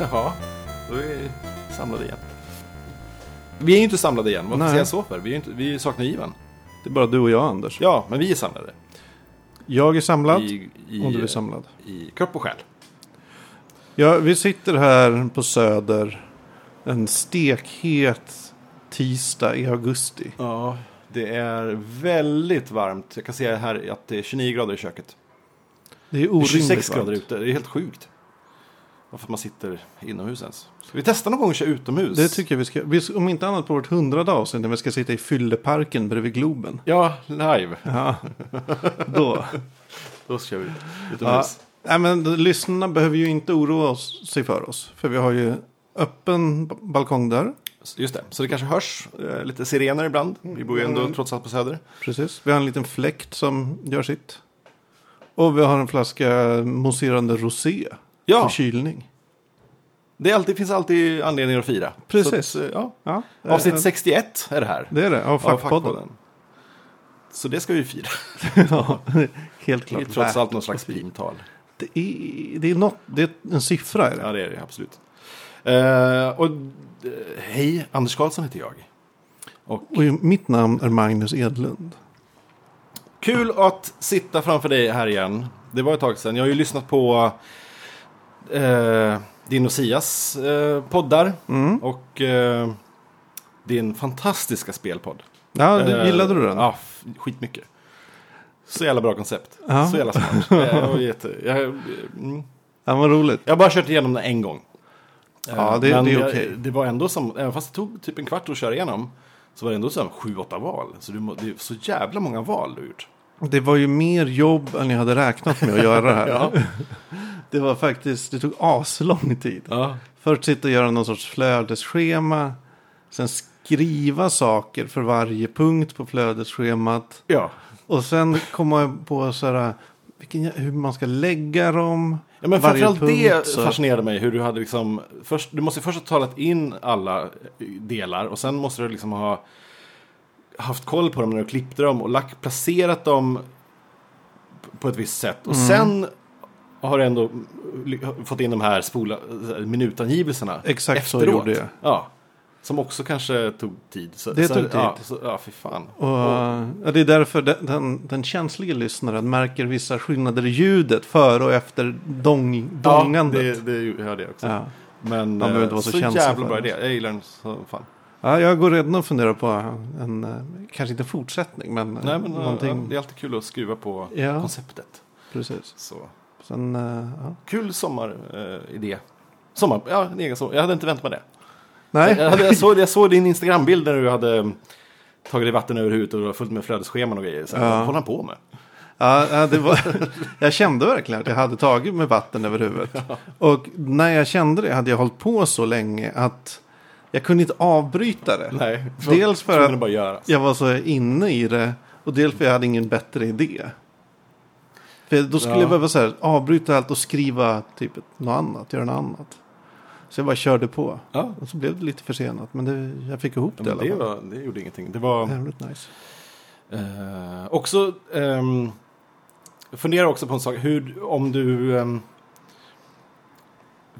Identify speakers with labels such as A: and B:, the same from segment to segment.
A: Ja, då är vi samlade igen. Vi är ju inte samlade igen, varför
B: Nej.
A: säger jag så för? Vi, är ju inte, vi saknar Ivan.
B: Det är bara du och jag Anders.
A: Ja, men vi är samlade.
B: Jag är samlad
A: I, i,
B: och du är samlad.
A: I kropp och själ.
B: Ja, vi sitter här på Söder en stekhet tisdag i augusti.
A: Ja, det är väldigt varmt. Jag kan se här att det är 29 grader i köket.
B: Det är
A: Det är
B: orimligt
A: 26
B: varmt.
A: grader ute, det är helt sjukt. Varför man sitter inomhus ens. Ska vi testa någon gång att köra utomhus?
B: Det tycker jag vi ska, vi- om inte annat på vårt hundrade avsnitt när vi ska sitta i fylleparken bredvid Globen.
A: Ja, live.
B: Ja, då.
A: Då kör vi
B: Ja.
A: utomhus.
B: Nej, men lyssnarna behöver ju inte oroa oss, sig för oss. För vi har ju öppen b- balkong där.
A: Just det, så det kanske hörs eh, lite sirener ibland. Vi bor ju
B: Mm.
A: ändå trots allt på Söder.
B: Precis. Vi har en liten fläkt som gör sitt. Och vi har en flaska mousserande rosé. För
A: Ja,
B: kylning.
A: det är alltid, finns alltid anledningar att fira.
B: Precis.
A: Så att, eh,
B: Ja,
A: ja. Avsnitt
B: eh,
A: 61 är det här.
B: Det är det, av
A: av
B: fackpodden.
A: Så det ska vi fira.
B: Ja, helt
A: Det är
B: klart.
A: trots allt någon slags primtal.
B: Det är, det är, något, det är en siffra. Är det.
A: Ja, det är det absolut. Eh, och eh, hej, Anders Karlsson heter jag.
B: Och ju- mitt namn är Magnus Edlund.
A: Kul att sitta framför dig här igen. Det var ett tag sedan. Jag har ju lyssnat på eh, din och Sias eh, poddar. Och eh, din fantastiska spelpodd.
B: Ja, du,
A: Eh,
B: gillade du den?
A: Ja, f- skitmycket. Så jävla bra koncept.
B: Ja.
A: Så jävla smart. Eh, och jätte, jag, mm.
B: Ja, vad roligt.
A: jag har bara kört igenom den en gång. Eh,
B: Ja, det-
A: men
B: det är
A: jag-
B: okej.
A: Det var ändå som, även fast det tog typ en kvart att köra igenom. Så var det ändå som sju, åtta val. Så du, må- det är så jävla många val du har gjort.
B: Det var ju mer jobb än jag hade räknat med att göra det här.
A: Ja.
B: Det var faktiskt, det tog aslång tid.
A: Ja.
B: Först sitta och göra någon sorts flödesschema. Sen skriva saker för varje punkt på flödesschemat.
A: Ja.
B: Och sen komma på så här, vilken, jä- hur man ska lägga dem.
A: Ja, men
B: varje
A: framförallt det
B: punkt, så-
A: fascinerade mig. Hur du hade liksom... Först, du måste först ha talat in alla eh, delar och sen måste du liksom ha haft koll på dem när du klippte dem och lack, placerat dem p- på ett visst sätt.
B: Mm.
A: Och sen har du ändå ly- fått in de här spola, eh, minutangivelserna.
B: Exakt så
A: efteråt.
B: gjorde jag.
A: Ja. Som också kanske tog tid. Så,
B: Det
A: så-
B: tog tid.
A: Ja, så, ja, fy fan.
B: Och, ja, det är därför den, den, den känsliga lyssnaren märker vissa skillnader i ljudet före och efter dong, dongandet.
A: Ja, det, det hörde jag också.
B: Ja.
A: Men
B: behöver
A: eh,
B: inte vara så
A: så
B: känslig
A: jävla
B: för
A: bra
B: det.
A: idé. Jag gillar den så fan.
B: Ja, jag går redan och funderar på en, eh, kanske inte en fortsättning, men, eh,
A: Nej, men,
B: någonting.
A: ja, det är alltid kul att skruva på
B: Ja.
A: konceptet.
B: Precis.
A: Så.
B: Sen, eh, ja.
A: Kul sommaridé. sommar, ja, en egen sommar. Jag hade inte väntat mig det.
B: Nej,
A: Jag, hade, jag, såg, jag såg din Instagrambild när du hade mm, tagit dig vatten över huvudet och det var fullt med flödesscheman och grejer. Så Vad håller han på med?
B: ja, ja, det var, jag kände verkligen att jag hade tagit med vatten över huvudet. Och när jag kände det hade jag hållit på så länge att jag kunde inte avbryta det.
A: Nej,
B: Dels för
A: att...
B: att-
A: bara göra.
B: Jag var så inne i det och dels för jag hade ingen bättre idé. För då skulle
A: Ja.
B: jag behöva så här, avbryta allt och skriva typ ett- något annat, göra något annat. Så jag bara körde på.
A: Ja.
B: Och så blev det lite försenat, men det, jag fick ihop
A: Ja,
B: det i
A: men det,
B: alla fall.
A: var, det gjorde ingenting. Det var...
B: Jävligt nice.
A: Eh, också, ehm, jag funderar också på en sak. Hur, om du... ehm,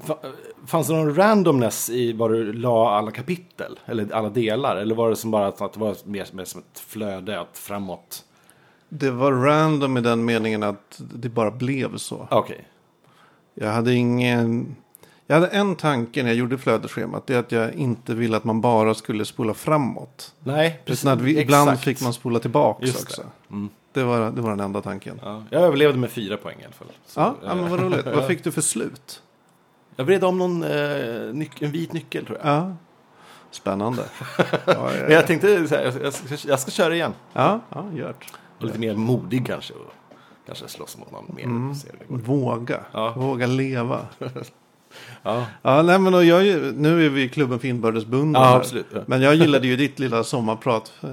A: fa- fanns det någon randomness i var du la alla kapitel? Eller alla delar? Eller var det som bara att att det var mer, mer som ett flöde att framåt?
B: Det var random i den meningen att det bara blev så.
A: Ah, Okej.
B: Jag hade ingen... Jag hade en tanke när jag gjorde flödesschemat. Det är att jag inte ville att man bara skulle spola framåt.
A: Nej, precis.
B: Utan att vi, ibland fick man spola tillbaka
A: Just det.
B: också.
A: Mm.
B: Det, var, det var den enda tanken.
A: Ja, jag överlevde med fyra poäng i alla fall. Så,
B: Ja,
A: eh,
B: ja men vad roligt. Vad fick du för slut?
A: Jag vred om någon, eh, nyc- en vit nyckel tror jag.
B: Ja. Spännande. Ja,
A: Men
B: ja,
A: jag tänkte så här, jag, jag, ska, jag ska köra igen.
B: ja, ja gjort.
A: Och lite mer modig kanske. Och kanske slåss mot någon mer.
B: Mm.
A: och se hur det går.
B: Våga.
A: Ja.
B: Våga leva.
A: Ja,
B: Ja, nej, men och jag, är ju- nu är vi i klubben för inbördesbunden.
A: ja
B: här.
A: absolut. Ja.
B: Men jag gillade ju ditt lilla sommarprat eh,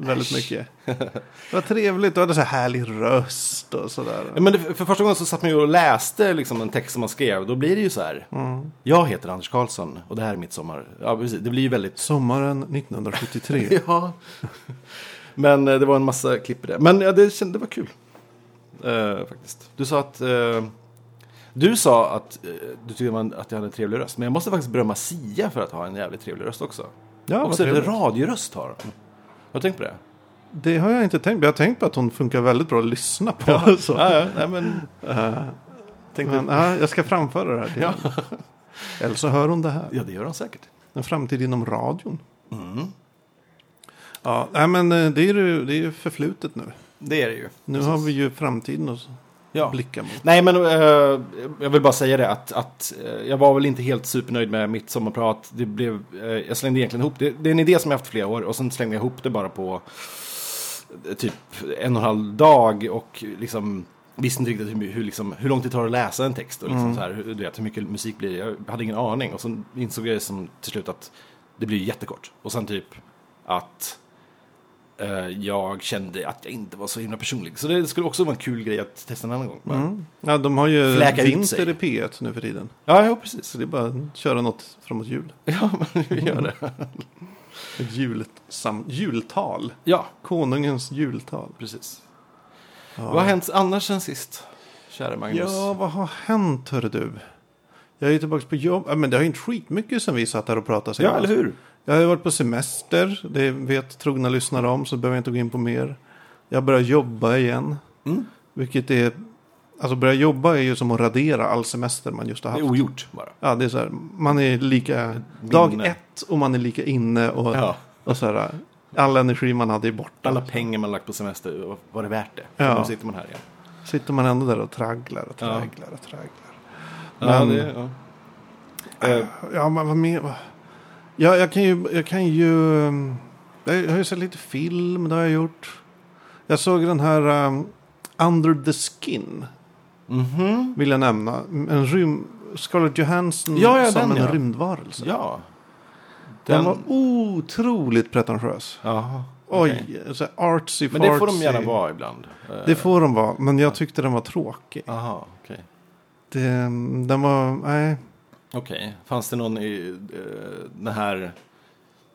B: väldigt mycket. Det var trevligt. Du hade så här härlig röst och sådär.
A: Men det, för första gången så satt man ju och läste liksom en text som man skrev. Då blir det ju så här.
B: Mm.
A: Jag heter Anders Karlsson och det här är mitt sommar. Ja, precis. Det blir ju väldigt...
B: Sommaren 1973.
A: Ja. Men eh, det var en massa klipp i det. Men ja, det, känd- det var kul. Eh, faktiskt. Du sa att... eh, Du sa att eh, du tyckte man, att jag hade en trevlig röst. Men jag måste faktiskt berömma Sia för att ha en jävligt trevlig röst också.
B: Ja,
A: och
B: vad
A: så är det
B: trevligt.
A: radioröst har hon. Har du tänkt på det?
B: Det har jag inte tänkt på. Jag har tänkt på att hon funkar väldigt bra att lyssna på. Så.
A: Ja, ja, nej men... tänkte,
B: Men, ja, jag ska framföra det här. till
A: Ja.
B: henne. Eller så hör hon det här.
A: ja, det gör hon säkert.
B: En framtid inom radion.
A: Mm.
B: Ja, nej, men eh, det är ju det är ju förflutet nu.
A: Det är det ju.
B: Nu har vi ju framtiden att
A: Ja.
B: blicka mot.
A: Nej, men eh, jag vill bara säga det att, att eh, jag var väl inte helt supernöjd med mitt sommarprat. Det blev, eh, jag slängde egentligen ihop det. Det är en idé som jag haft flera år och sen slängde jag ihop det bara på eh, typ en och en halv dag och liksom visste inte riktigt hur, hur, liksom, hur långt det tar att läsa en text och liksom så här, hur, du vet, hur mycket musik blir det? Jag hade ingen aning och sen insåg jag som, till slut att det blir jättekort. Och sen typ att eh, jag kände att jag inte var så himla personlig. Så det skulle också vara en kul grej att testa en annan gång. Men-
B: Mm. Ja, de har ju
A: Fläka ut
B: vinter
A: sig.
B: i P1 nu för tiden.
A: Ja, ja precis.
B: Så det är bara att köra något framåt jul.
A: Ja, men vi gör det.
B: Ett julsam- jultal.
A: Ja,
B: Konungens jultal.
A: precis.
B: Ja.
A: Vad har hänt annars sen sist? Kära Magnus.
B: Ja, vad har hänt hörru du? Jag är ju tillbaka på jobb. Ja, men det har ju inte skitmycket sen vi satt här och pratade senast.
A: hur?
B: Jag har ju varit på semester. Det vet trogna lyssnare om så behöver jag inte gå in på mer. Jag börjar jobba igen.
A: Mm.
B: Vilket är... Alltså börja jobba är ju som att radera all semester man just har
A: Det
B: haft.
A: är ogjort bara.
B: Ja, det är så här. Man är lika... Dag
A: minne.
B: ett och man är lika inne och,
A: Ja.
B: och så här. All energi man hade är borta.
A: Alla pengar man lagt på semester, var- var det värt det?
B: Ja.
A: Nu sitter man här igen.
B: Sitter man ändå där och tragglar och
A: Ja.
B: tragglar och tragglar.
A: Ja,
B: Men-
A: det, ja. Eh,
B: Ja, men vad mer? vad- Ja, jag kan ju... Jag, kan ju, um, jag har ju sett lite film, det har jag gjort. Jag såg den här um, Under the Skin,
A: mhm.
B: vill jag nämna. En rym, Scarlett Johansson
A: Ja, ja,
B: som
A: den,
B: en
A: ja.
B: rymdvarelse.
A: Ja.
B: den... var otroligt pretentiös.
A: Jaha, okej.
B: Oj, så här artsy
A: Men det får de
B: fartsy.
A: gärna vara ibland. Eh,
B: Det får de vara, men jag tyckte den var tråkig.
A: Aha, okej.
B: Det, den var, nej.
A: Okej, fanns det någon i eh, den här,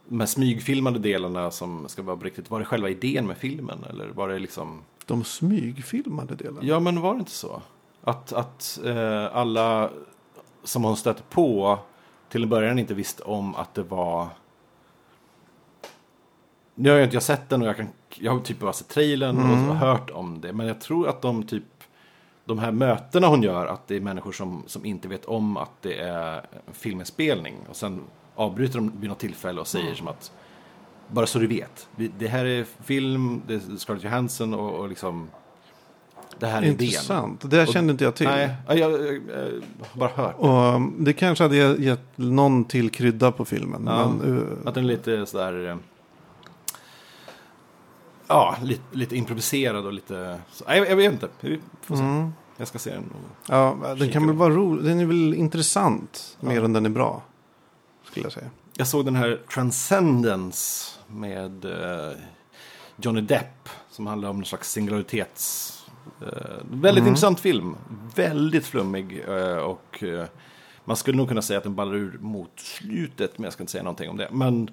A: de här smygfilmade delarna som ska vara på riktigt? Var det själva idén med filmen eller var det liksom?
B: De smygfilmade delen.
A: Ja, men var det inte så? Att, att eh, alla som hon stötte på till en början inte visste om att det var... Nu har jag inte jag sett den och jag, kan, jag har typ bara sett trailern och hört om det. Men jag tror att de typ de här mötena hon gör, att det är människor som, som inte vet om att det är en filminspelning. Och sen avbryter de vid något tillfälle och säger som att bara så du vet, vi, det här är film, det är Scarlett Johansson och, och liksom det här är idén.
B: Intressant, typ. det här kände inte jag till.
A: Nej, ja, jag, jag, jag har bara hört.
B: Och um, det kanske hade gett någon till krydda på filmen.
A: Ja.
B: Men, uh,
A: Att den är lite sådär... eh, Ja, lite, lite improviserad och lite... Så, nej, jag, jag vet inte. Vi får se.
B: mm,
A: Jag ska se den. och-
B: ja, den kan
A: Kika.
B: väl vara rolig. Den är väl intressant
A: Ja.
B: mer än den är bra. Skulle jag säga.
A: Jag såg den här Transcendence med eh, Johnny Depp. Som handlar om någon slags singularitets... eh, väldigt
B: Mm.
A: intressant film. Väldigt flummig. eh, och eh, man skulle nog kunna säga att den ballar ur mot slutet. Men jag ska inte säga någonting om det. Men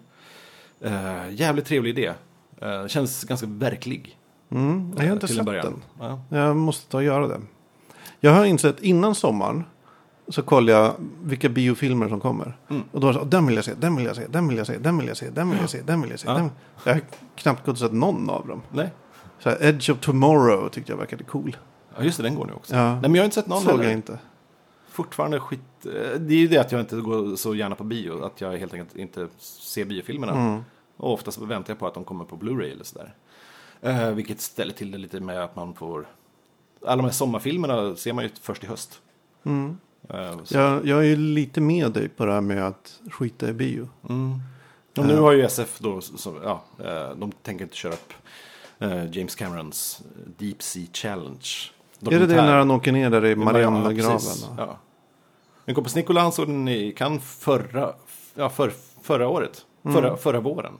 A: eh, jävligt trevlig idé. Eh, känns ganska verklig. eh,
B: Mm, jag har inte
A: till
B: sett
A: en början.
B: den.
A: Ja.
B: Jag måste ta och göra det. Jag har insett innan sommaren. Så kollar jag vilka biofilmer som kommer.
A: Mm.
B: Och då var det så, den vill jag se, den vill jag se, den vill jag se, den vill jag se, den vill jag se, den vill jag se.
A: Ja.
B: Den... Jag har knappt gått och sett någon av dem.
A: Nej.
B: Så här, Edge of Tomorrow tyckte jag verkade cool.
A: Ja, just det, den går nu också.
B: Ja.
A: Nej, men jag har inte sett någon
B: Såg
A: heller.
B: jag inte.
A: Fortfarande skit. eh, Det är ju det att jag inte går så gärna på bio. Att jag helt enkelt inte ser biofilmerna.
B: Mm.
A: Och oftast väntar jag på att de kommer på Blu-ray eller sådär. Eh, vilket ställer till det lite med att man får... Alla de här sommarfilmerna ser man ju först i höst.
B: Mm.
A: Eh, så,
B: Jag, jag är ju lite med dig på det här med att skita i bio.
A: mm. Och
B: Eh.
A: nu har ju SF då, så, ja, eh, de tänker inte köra upp eh, James Camerons Deep Sea Challenge.
B: Är det det
A: Dokumentär.
B: när han åker ner där i
A: Ja, precis.
B: Mariannegraven?
A: Ja. Min kompis Nikola han såg den i Cannes förra, ja, för, förra året.
B: Mm.
A: Förra, förra våren.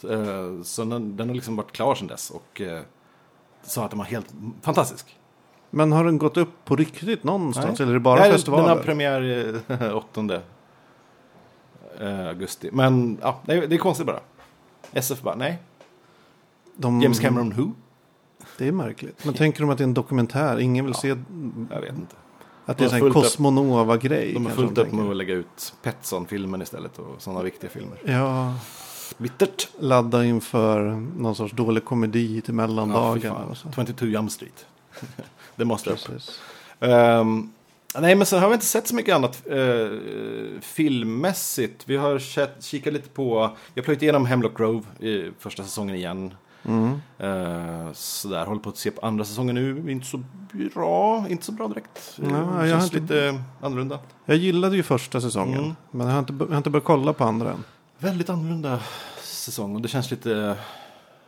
A: Så, eh, Så den, den har liksom varit klar sedan dess. Och eh, sa att den var helt fantastisk.
B: Men har den gått upp på riktigt någonstans?
A: Nej.
B: Eller är det bara
A: Nej,
B: festivaler?
A: Den har premiär eh, 8 eh, augusti. Men ja, nej, det är konstigt bara. SF bara, nej.
B: De-
A: James Cameron Who?
B: Det är märkligt. Men tänker de att det är en dokumentär? Ingen vill
A: Ja.
B: se...
A: Jag vet inte.
B: Att
A: De har
B: det är en sån här
A: fullt upp-
B: Cosmonova-grej.
A: De har
B: Mm. kanske
A: fullt upp
B: tänker.
A: med att lägga ut Petson-filmen istället och sådana viktiga filmer.
B: Ja,
A: Bittert!
B: ladda inför någon sorts dålig komedi till
A: Ja, fy
B: mellandagarna.
A: fan.
B: och så. Typ.
A: 22 Jump Street. det måste upp.
B: Precis.
A: Ehm, nej, men sen har vi inte sett så mycket annat eh, filmmässigt. Vi har kett, kikat lite på... Jag plöjt igenom Hemlock Grove i första säsongen igen.
B: Mm.
A: Uh, sådär, håller på att se på andra säsongen nu. Inte så bra, inte så bra direkt. Eh,
B: Ja, jag
A: känns
B: har inte-
A: lite annorlunda.
B: Jag gillade ju första säsongen.
A: Mm.
B: Men jag har, inte, jag har inte börjat kolla på andra än.
A: Väldigt annorlunda säsong och det känns lite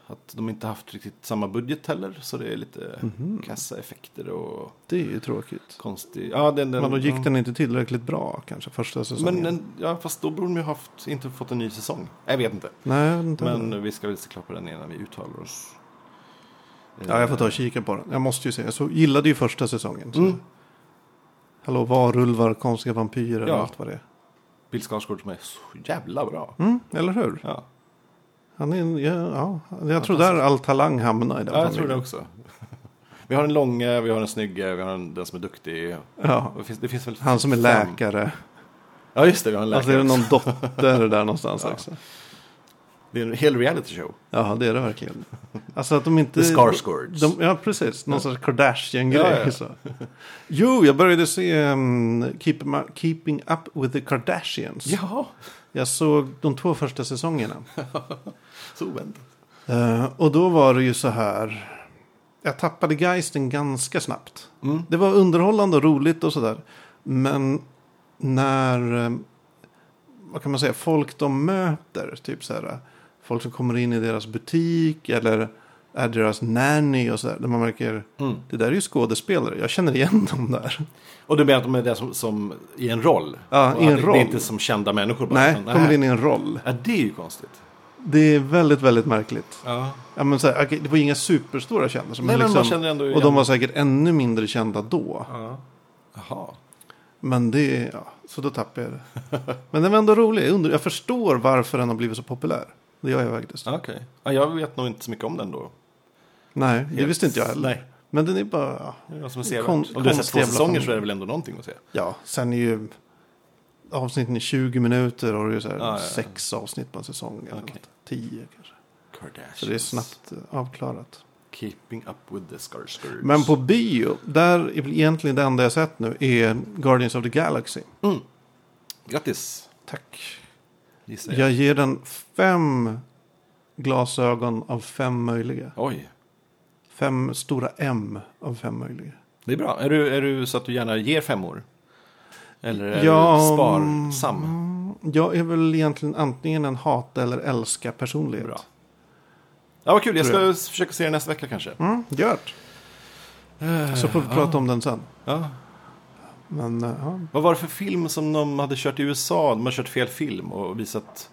A: att de inte haft riktigt samma budget heller. Så det är lite
B: Mhm.
A: kassaeffekter och
B: Det är ju tråkigt.
A: konstig... Ja, den, den,
B: Men då gick
A: ja.
B: den inte tillräckligt bra kanske första säsongen.
A: Men den, ja, fast då borde de ju haft, inte fått en ny säsong. Jag vet inte.
B: Nej, jag vet inte.
A: Men vi ska väl se klart på den innan vi uttalar oss.
B: Ja, jag får ta och kika på den. Jag måste ju se. Jag så, gillade ju första säsongen. Så.
A: Mm.
B: Hallå, varulvar, konstiga vampyrer
A: Ja.
B: och allt vad det är.
A: Bill Skarsgård Eh, som är så jävla bra.
B: Mm, eller hur?
A: Ja,
B: Han är, en- ja, ja, jag tror där all talang hamnar i den
A: ja jag tror
B: familjen.
A: det också. Vi har en långe, vi har en snygge, vi har en, den som är duktig.
B: Ja.
A: Och Det finns, det finns väl
B: Han som är
A: fem.
B: läkare.
A: Ja, just det, vi har en läkare.
B: Alltså är det någon dotter där någonstans
A: Ja.
B: också?
A: det är en hel reality show.
B: Ja, det är det verkligen. Alltså att de inte...
A: The Skarsgårds.
B: De, ja, precis. Någon sorts Kardashian-grej.
A: Ja, ja.
B: så. Jo, jag började se um, Keep, Ma- Keeping Up With The Kardashians.
A: Ja,
B: Jag såg de två första säsongerna.
A: så oväntat.
B: Eh, och då var det ju så här. Jag tappade geisten ganska snabbt.
A: Mm.
B: Det var underhållande och roligt och sådär. Men när, eh, vad kan man säga, folk de möter, typ så här, folk som kommer in i deras butik eller är deras nanny och sådär. Där man märker,
A: Mm.
B: det där är ju skådespelare, jag känner igen dem där.
A: Och du menar att de är där som, som i en roll?
B: Ja,
A: Och
B: i en
A: att det-
B: roll.
A: Det är inte som kända människor bara?
B: Nej,
A: utan,
B: kommer in i en roll.
A: Ja, det är ju konstigt.
B: Det är väldigt, väldigt märkligt.
A: Ja.
B: Ja, men så här, okej, det var inga superstora kändisar.
A: Nej,
B: Men
A: men man
B: liksom,
A: känner ändå
B: och
A: igen-
B: de var säkert ännu mindre kända då.
A: Ja. Jaha.
B: Men det, ja, så då tappade jag det. Men den var ändå rolig. Jag, undrar, jag förstår varför den har blivit så populär. Det gör jag faktiskt.
A: Ja, Okej. Ja, jag vet nog inte så mycket om den då.
B: Nej, det visste inte jag heller.
A: Nej.
B: Men den är bara, ja.
A: Det är något som är sevärt.
B: Kon-
A: Om du har sett två
B: konstig jävla
A: säsonger
B: familj.
A: så är det väl ändå någonting att se.
B: ja, sen är ju avsnitten i 20 minuter och det är så här
A: Ja, ja, ja.
B: sex avsnitt på en säsong. Eller
A: Okej.
B: något. Tio kanske.
A: Kardashians.
B: Så det är snabbt eh, avklarat.
A: Keeping up with the Skarsgårds.
B: Men på bio, där är väl egentligen det enda jag sett nu är Guardians of the Galaxy.
A: Grattis.
B: Tack.
A: Gissar jag.
B: Jag ger den fem glasögon av fem möjliga.
A: Oj.
B: Fem stora M av fem möjliga.
A: Det är bra. Är du, är du så att du gärna ger femmor? Eller är du
B: Ja,
A: sparsam?
B: mm, Jag är väl egentligen antingen en hata eller älska personlighet.
A: Bra. Ja, vad kul. Jag ska
B: Tror
A: försöka se den nästa vecka kanske.
B: Mm, gört.
A: Eh,
B: Så får vi prata om den sen.
A: Ja.
B: Men eh, ja,
A: Vad var det för film som de hade kört i USA? De har kört fel film och visat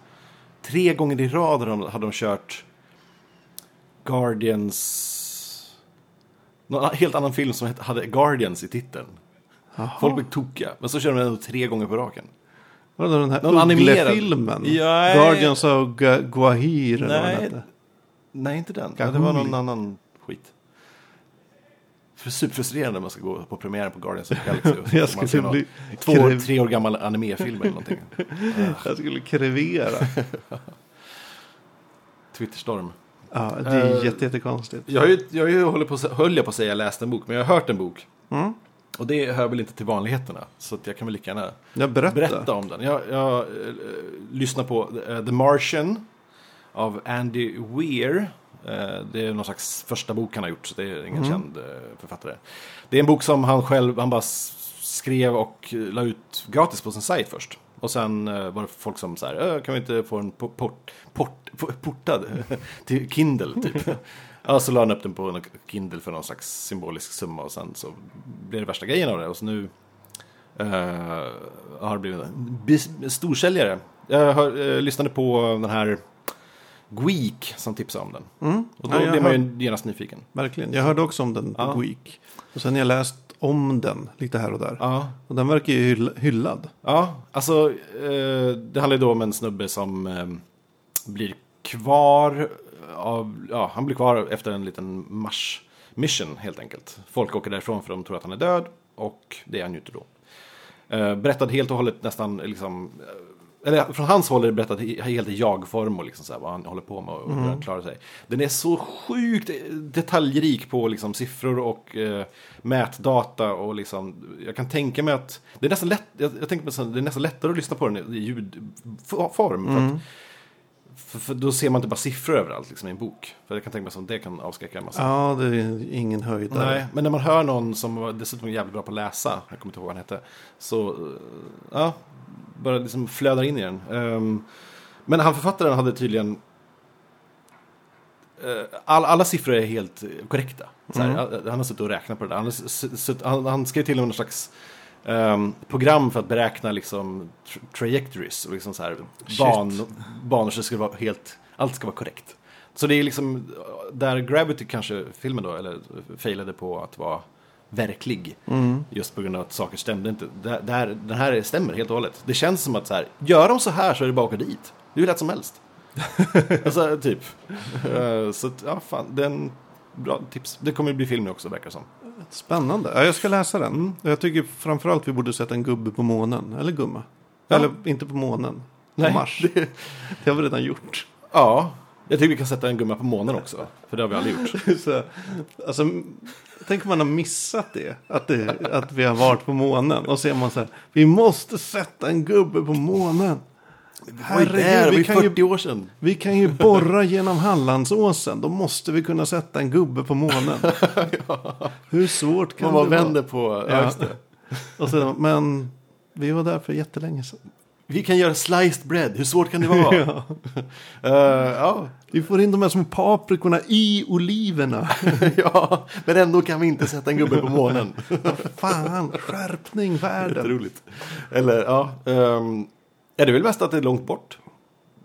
A: tre gånger i rad hade de, hade de kört Guardians. Någon helt annan film som het- hade Guardians i titeln.
B: Jaha.
A: Folk blev tokiga, men så körde de den tre gånger på raken.
B: vadå den här
A: Någon animerad-
B: Uggle-filmen?
A: Ja,
B: Guardians of Gu- Guahir eller vad
A: Nej.
B: den hette.
A: Nej, inte den. Ja, det var
B: Gahul.
A: någon annan skit. För superfrustrerande om man ska gå på premiären på Guardians of the Galaxy. och-
B: Jag
A: och man ser
B: skulle bli
A: någon Två,
B: krev-
A: tre år gammal animefilm eller någonting.
B: Jag skulle krevera.
A: Twitterstorm.
B: ja, det är
A: Eh,
B: jätte, jättekonstigt.
A: Jag, har ju, jag har ju håller på, höll jag på att säga läst en bok, men jag har hört en bok.
B: Mm.
A: Och det hör väl inte till vanligheterna, så att jag kan väl lika gärna
B: Jag berätta.
A: berätta om den. Jag, jag eh, lyssnar på eh, The Martian av Andy Weir. Eh, det är någon slags första bok han har gjort, så det är ingen känd eh, författare. Det är en bok som han själv, han bara s- skrev och eh, la ut gratis på sin sajt först. Och sen eh, var det folk som så här, "Ö, kan vi inte få en po- port, port, po- portad till Kindle typ. Ja, så la han upp den på en Kindle för någon slags symbolisk summa och sen så blev det värsta grejen av det. Och så nu eh, har det blivit en bis- storsäljare. Jag hör, eh, lyssnade på den här Gweek som tipsade om den. Och då
B: Mm. Ja, jag
A: blev man ju genast nyfiken.
B: Verkligen. Jag hörde också om den på
A: Ja.
B: Week. Och sen har jag läst om den lite här och där.
A: Ja,
B: Och den verkar ju hyll- hyllad.
A: Ja, alltså eh, det handlar ju då om en snubbe som eh, blir kvar av, ja, han blir kvar efter en liten mars mission helt enkelt. Folk åker därifrån för de tror att han är död Och det är han ju inte då. Eh, Berättad helt och hållet nästan liksom... eh, Eller från hans håll är det berättat i- helt i jag-form och liksom så här, vad han håller på med och hur han klarar sig. Den är så sjukt eh, detaljrik på liksom siffror och eh, mätdata och liksom... Jag kan tänka mig att... Det är nästan, lätt, jag, jag tänker mig så här, det är nästan lättare att lyssna på den i ljudform. För att, för, för då ser man inte bara siffror överallt liksom, i en bok. För jag kan tänka mig att det kan avskräcka en massa.
B: Ja, det är ingen höjdare.
A: Nej, men när man hör någon som var dessutom är jävligt bra på att läsa, jag kommer inte ihåg vad han hette, så eh, ja, bara liksom flödar in i den. Ehm, men han författaren hade tydligen eh, all, alla siffror är helt eh, korrekta. Så här, eh, Han har suttit och räknat på det där. Han, har s- s- s- han, han skrev till och med någon slags ehm, program för att beräkna liksom, tra- trajectories och liksom så här, ban, banor så det skulle vara helt, allt ska vara korrekt. Så det är liksom eh, där Gravity kanske, filmen då, eller eh, failade på att vara verklig.
B: Mm.
A: Just på grund av att saker stämde inte. Där, där, den här stämmer helt och hållet. Det känns som att så här, gör de så här så är det bara att åka dit. Det är hur lätt som helst. Alltså, typ. Eh, Så att, ja, fan. Den... Bra tips. Det kommer ju bli film nu också, verkar det som.
B: Spännande. Ja, jag ska läsa den.
A: Mm.
B: Jag tycker framförallt vi borde sätta en gubbe på månen. Eller gumma.
A: Ja.
B: Eller inte på månen. På
A: Nej.
B: Mars. Det... har vi redan gjort.
A: Ja. Jag tycker vi kan sätta en gumma på månen också. För det har vi aldrig gjort.
B: Så, alltså, tänk om man har missat det att, det. att vi har varit på månen. Och så är man så här. Vi måste sätta en gubbe på månen. Herregud, vi kan, ju,
A: år sedan.
B: vi kan ju borra genom Hallandsåsen. Då måste vi kunna sätta en gubbe på månen. Hur svårt kan
A: Man bara
B: det vara?
A: vänder på... Ja.
B: Ja.
A: just det.
B: Och sen, men vi var där för jättelänge sedan.
A: Vi kan göra sliced bread. Hur svårt kan det vara? ja. ja.
B: Vi får in de här små paprikorna i oliverna.
A: ja, men ändå kan vi inte sätta en gubbe på månen.
B: Fan, skärpning världen.
A: Jätteroligt. Eller, ja. Um, ja, det är väl mest att det är långt bort.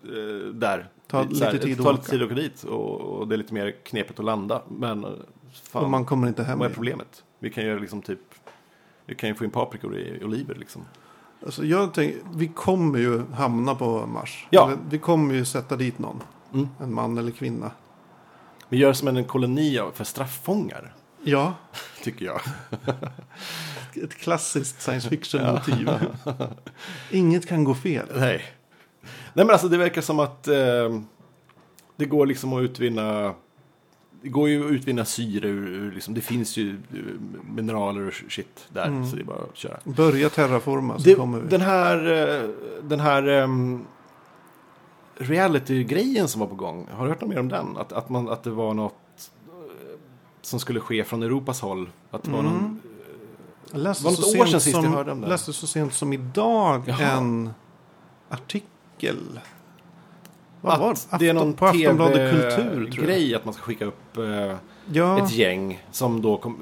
A: eh, där.
B: Ta
A: Så
B: lite tid att
A: ta
B: åka.
A: lite tid att åka dit. Och, och det är lite mer knepigt att landa. Men eh,
B: Och
A: fan,
B: man kommer inte hem.
A: vad är
B: igen.
A: problemet? Vi kan ju liksom typ... Vi kan ju få in paprikor i oliver liksom.
B: Alltså, jag tänker, vi kommer ju hamna på Mars.
A: Ja.
B: Eller, Vi kommer ju sätta dit någon.
A: Mm.
B: En man eller kvinna.
A: Vi gör som en koloni av- för strafffångar.
B: Ja,
A: Tycker jag.
B: ett klassiskt science fiction-motiv. Inget kan gå fel.
A: Nej. Nej men alltså det verkar som att eh, det går liksom att utvinna det går ju att utvinna syre ur, ur liksom, det finns ju eh, mineraler och shit där så det är bara att köra.
B: Börja terraforma Mm. så
A: Det,
B: kommer vi.
A: den här, eh, den här ehm, reality-grejen som var på gång, har du hört något mer om den? Att, att, man, att det var något eh, som skulle ske från Europas håll. Att det var
B: Mm.
A: någon,
B: Jag läste
A: Var det
B: så
A: något år
B: sent
A: sedan sist
B: som,
A: jag hörde om det?
B: läste så sent som idag
A: Jaha.
B: en artikel. Vad var
A: att det är någon
B: på Aftonbladet Kultur tror jag.
A: TV-grej att man ska skicka upp eh,
B: Ja,
A: ett gäng som då kom,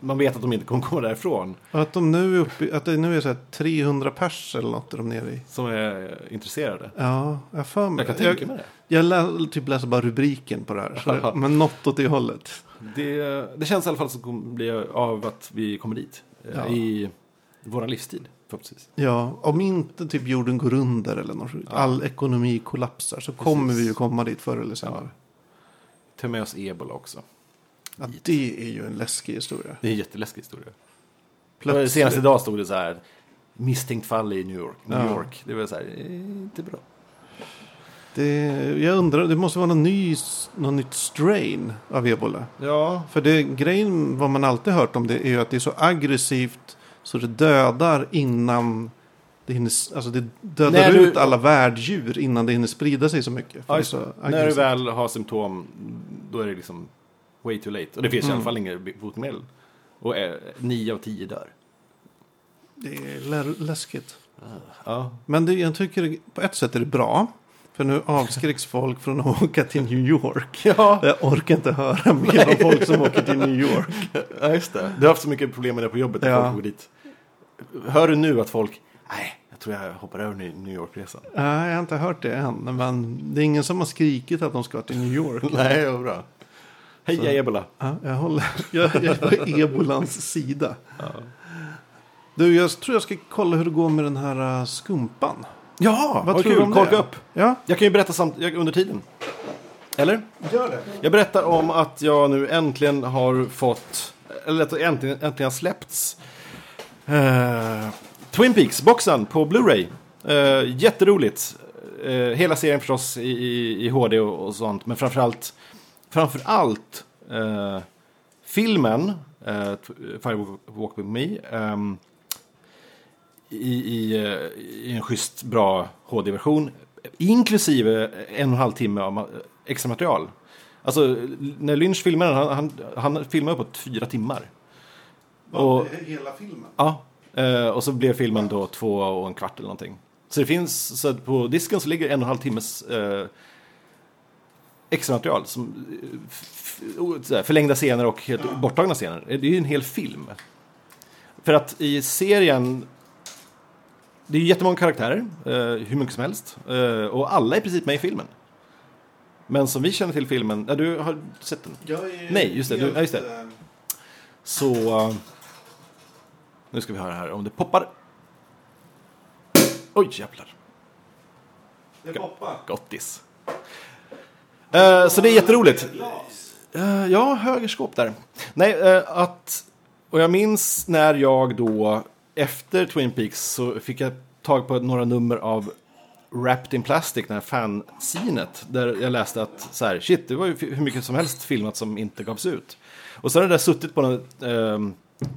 A: man vet att de inte kommer komma därifrån.
B: och att de nu är uppe, i- att det nu är så här 300 pers eller något är de nere i.
A: Som är intresserade.
B: Ja, jag har för mig.
A: Jag kan tänka mig det.
B: jag lä, typ läser bara rubriken på det här. Så det, men något åt det hållet.
A: det. Det känns i alla fall som kommer bli av att vi kommer dit. eh,
B: Ja.
A: I vår livstid förhoppningsvis.
B: Ja, om inte typ jorden går under eller något. All ekonomi kollapsar så kommer vi ju komma dit förr eller senare.
A: Ta med oss ebola också.
B: Ja, det är ju en läskig historia.
A: Det är en jätteläskig historia. Senast idag stod det så här. Misstänkt fall i New York. New
B: Ja.
A: York. Det var så här, eh, inte bra.
B: Det, jag undrar, det måste vara någon ny, någon nytt strain av ebola.
A: Ja.
B: För det, grejen, vad man alltid hört om det, är ju att det är så aggressivt så det dödar innan det hinner, s- alltså det dödar
A: När du-
B: ut alla värddjur innan det hinner sprida sig så mycket. För det är så
A: när du
B: aggressivt.
A: väl har symptom då är det liksom way too late. Och det finns i
B: Mm.
A: alla fall inget botemedel. Och eh, nio av tio dör.
B: Det är lä- läskigt.
A: Ja.
B: Men det, jag tycker på ett sätt är det bra. För nu avskräcks folk från att åka till New York.
A: Ja.
B: Jag orkar inte höra mer om folk som åker till New York.
A: Ja, just det. Du har haft så mycket problem med det på jobbet.
B: Ja.
A: Ja. Folk går dit. Hör du nu att folk, nej, jag tror jag hoppar över New New York-resan.
B: Nej, jag har inte hört det än. Men det är ingen som har skrikit att de ska till New York.
A: nej, vad bra. Heja ebola.
B: Ja, jag håller. Jag, jag är på ebolans sida. Du, jag tror jag ska kolla hur det går med den här äh, skumpan.
A: Ja, vad,
B: tror
A: kul.
B: du om det?
A: Korka upp.
B: Ja,
A: Jag kan ju berätta samt, jag, under tiden. Eller?
B: gör det.
A: Jag berättar om att jag nu äntligen har fått, eller att det äntligen, äntligen har släppts Eh, Twin Peaks-boxen på Blu-ray. Eh, jätteroligt. Eh, hela serien förstås i, i, i HD och, och sånt. Men framförallt, framförallt eh, filmen eh, Fire Walk With Me. ehm, i, i, eh, i en schysst bra HD-version. Inklusive en och en halv timme av ma- extra material. Alltså när Lynch filmade den, han, han, han filmade på fyra timmar. Och-
B: Hela filmen?
A: Ja, eh, och så blev filmen då två och en kvart eller någonting. Så det finns, så att på disken så ligger en och en halv timmes eh, extra material. Som, eh, f- o- så här, förlängda scener och helt borttagna scener. Det är ju en hel film. För att i serien, det är ju jättemånga karaktärer, eh, hur mycket som helst. Eh, och alla är i princip med i filmen. Men som vi känner till filmen, ja, du har sett den.
B: Jag är
A: Nej, just det, du- ja, just det.
B: helt, eh,
A: Så... eh, Nu ska vi höra här om det poppar. Oj, jävlar.
B: Det poppar.
A: Gottis. Eh, så det är jätteroligt.
B: Glas.
A: Uh, ja, höger skåp där. Nej, eh, att... Och jag minns när jag då, efter Twin Peaks, så fick jag tag på några nummer av Wrapped in Plastic, det här fansinet. Där jag läste att så här, shit, det var ju hur mycket som helst filmat som inte gavs ut. Och så har det där suttit på, något, ehm,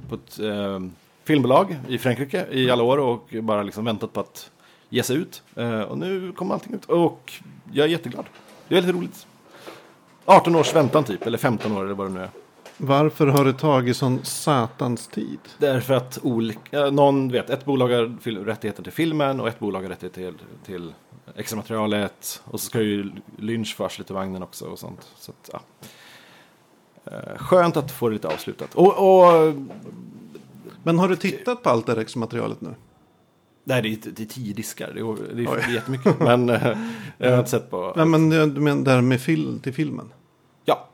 A: på ett ehm, filmbolag i Frankrike i alla år och bara liksom väntat på att ge sig ut. Eh, och nu kom allting ut och jag är jätteglad. Det är lite roligt. 18 års väntan typ, eller 15 år eller vad det nu är.
B: Varför har det tagit sån satans tid?
A: Därför att olika, eh, någon vet, ett bolag har fil- rättigheter till filmen och ett bolag har rättigheter till, till extra materialet. Och så ska ju Lynch få arslet i vagnen också och sånt. Så att, ja. Eh, Skönt att få det lite avslutat. Och, och
B: Men har du tittat på allt det här extra materialet nu?
A: nej, det är, det är tio diskar, det är, det
B: Oj.
A: är jättemycket. Men eh, jag har inte sett på...
B: Nej, men jag- du menar det här med fil till filmen.
A: Ja,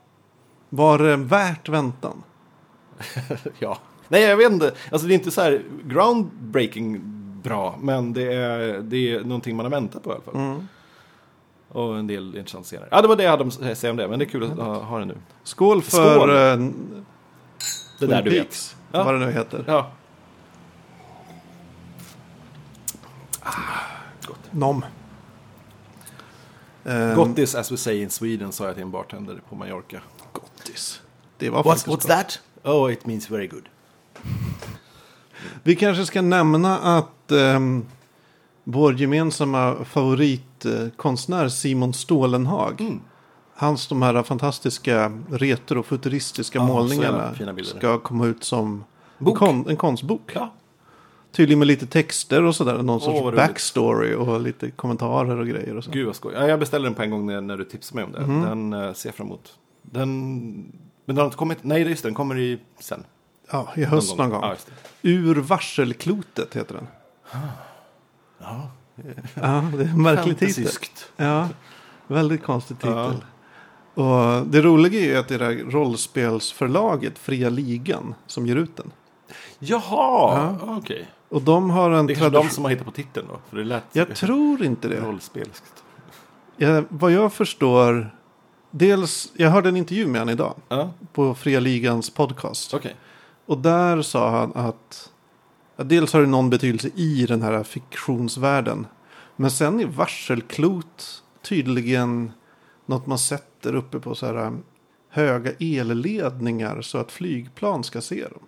B: Var det värt väntan?
A: Ja. Nej, jag vet inte. Alltså det är inte så här groundbreaking bra, men det är, det är någonting man har väntat på i alla fall.
B: Mm.
A: Och en del intressant scener. Ja, det var det jag hade att säga om det, men det är kul att ha, ha det nu.
B: Skål för
A: Skål.
B: eh,
A: Det
B: Twin
A: där du vet.
B: Peaks,
A: Ja.
B: Vad det nu heter.
A: Ja.
B: Nom. Ehm,
A: Gottis as we say in Sweden, sa jag till en bartender på Mallorca.
B: Gottis. Det var
A: What's,
B: faktiskt
A: what's
B: bra.
A: that? Oh, it means very good.
B: Vi kanske ska nämna att ehm, vår gemensamma favoritkonstnär Simon Stålenhag.
A: Mm.
B: Hans de här fantastiska retrofuturistiska
A: Ja, så
B: målningarna
A: jävla fina bilder.
B: ska komma ut som
A: Bok.
B: Kon, en konstbok.
A: Ja.
B: Tydligen med lite texter och sådär. Någon sorts
A: vad roligt.
B: backstory och lite kommentarer och grejer. Och så.
A: Gud vad skoj. Ja, jag beställde den på en gång när, när du tipsade mig om det.
B: Mhm.
A: Den eh, ser jag fram emot. Den... Men den har inte kommit? Nej, just det, den kommer i sen.
B: Ja, i höst någon gång.
A: Ja, just det.
B: Ur varselklotet heter den.
A: Ja.
B: Ja, det är en märklig titel.
A: Fantasyskt.
B: Ja, väldigt konstig titel. Och det roliga är ju att det där rollspelsförlaget Fria Ligan som ger ut den.
A: Jaha, okej.
B: Och de har en
A: Det är kanske de
B: tradition.
A: som har hittat på titeln då? För det lät
B: Jag tror inte det.
A: rollspelskt.
B: Jag, vad jag förstår. Dels, jag hörde en intervju med han idag
A: Ja,
B: på Fria Ligans podcast.
A: okej.
B: Och där sa han att ja, dels har det någon betydelse i den här fiktionsvärlden. Men sen är varselklot tydligen något man sätter uppe på så här um, höga elledningar så att flygplan ska se dem.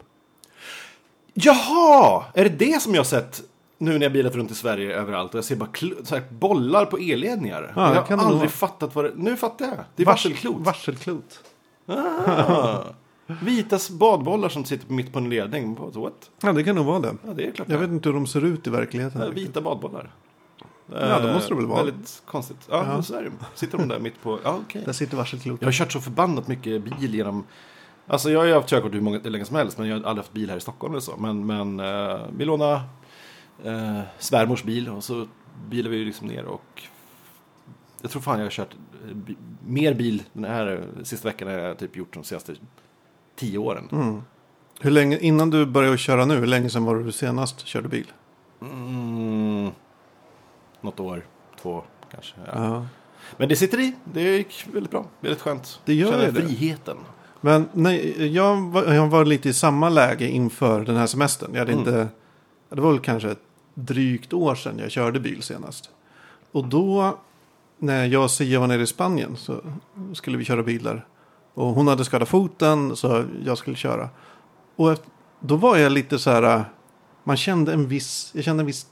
A: Jaha! Är det det som jag har sett nu när jag bilat runt i Sverige överallt och jag ser bara kl- så här bollar på elledningar?
B: Ja, det
A: jag
B: kan det
A: har aldrig
B: vara.
A: fattat vad det... Nu fattar jag. Det är
B: Varsel-
A: varselklot.
B: Varselklot.
A: Ah. Vita badbollar som sitter mitt på en ledning. What?
B: Ja, det kan nog vara det.
A: Ja, det är klart.
B: Jag vet inte hur de ser ut i verkligheten.
A: Ja,
B: riktigt.
A: Vita badbollar. Eh,
B: Ja, det måste det väl vara.
A: Väldigt konstigt. Ja, men så är det. Sitter de där mitt på... Ja, okej.
B: Där sitter varselklot.
A: Jag har kört så förbannat mycket bil genom... Alltså jag har ju haft körkort hur många, hur länge som helst, men jag har aldrig haft bil här i Stockholm eller så. Men, men eh, vi lånade eh, svärmors bil och så bilade vi liksom ner och... Jag tror fan jag har kört eh, bi- mer bil den här eh, sista veckan än jag typ gjort de senaste tio åren.
B: Mm. Hur länge, innan du började köra nu, hur länge sedan var det du senast körde bil?
A: Mm. Något år, två kanske. Ja. Men det sitter i, det gick väldigt bra, väldigt skönt.
B: Det gör
A: Känner
B: ju det.
A: friheten.
B: Men nej, jag var, jag var lite i samma läge inför den här semestern. Jag hade
A: Mm.
B: inte, det var väl kanske ett drygt år sedan jag körde bil senast. Och då, när jag och Sia var nere i Spanien så skulle vi köra bilar. Och hon hade skadat foten så jag skulle köra. Och efter, då var jag lite så här, man kände en viss, jag kände en viss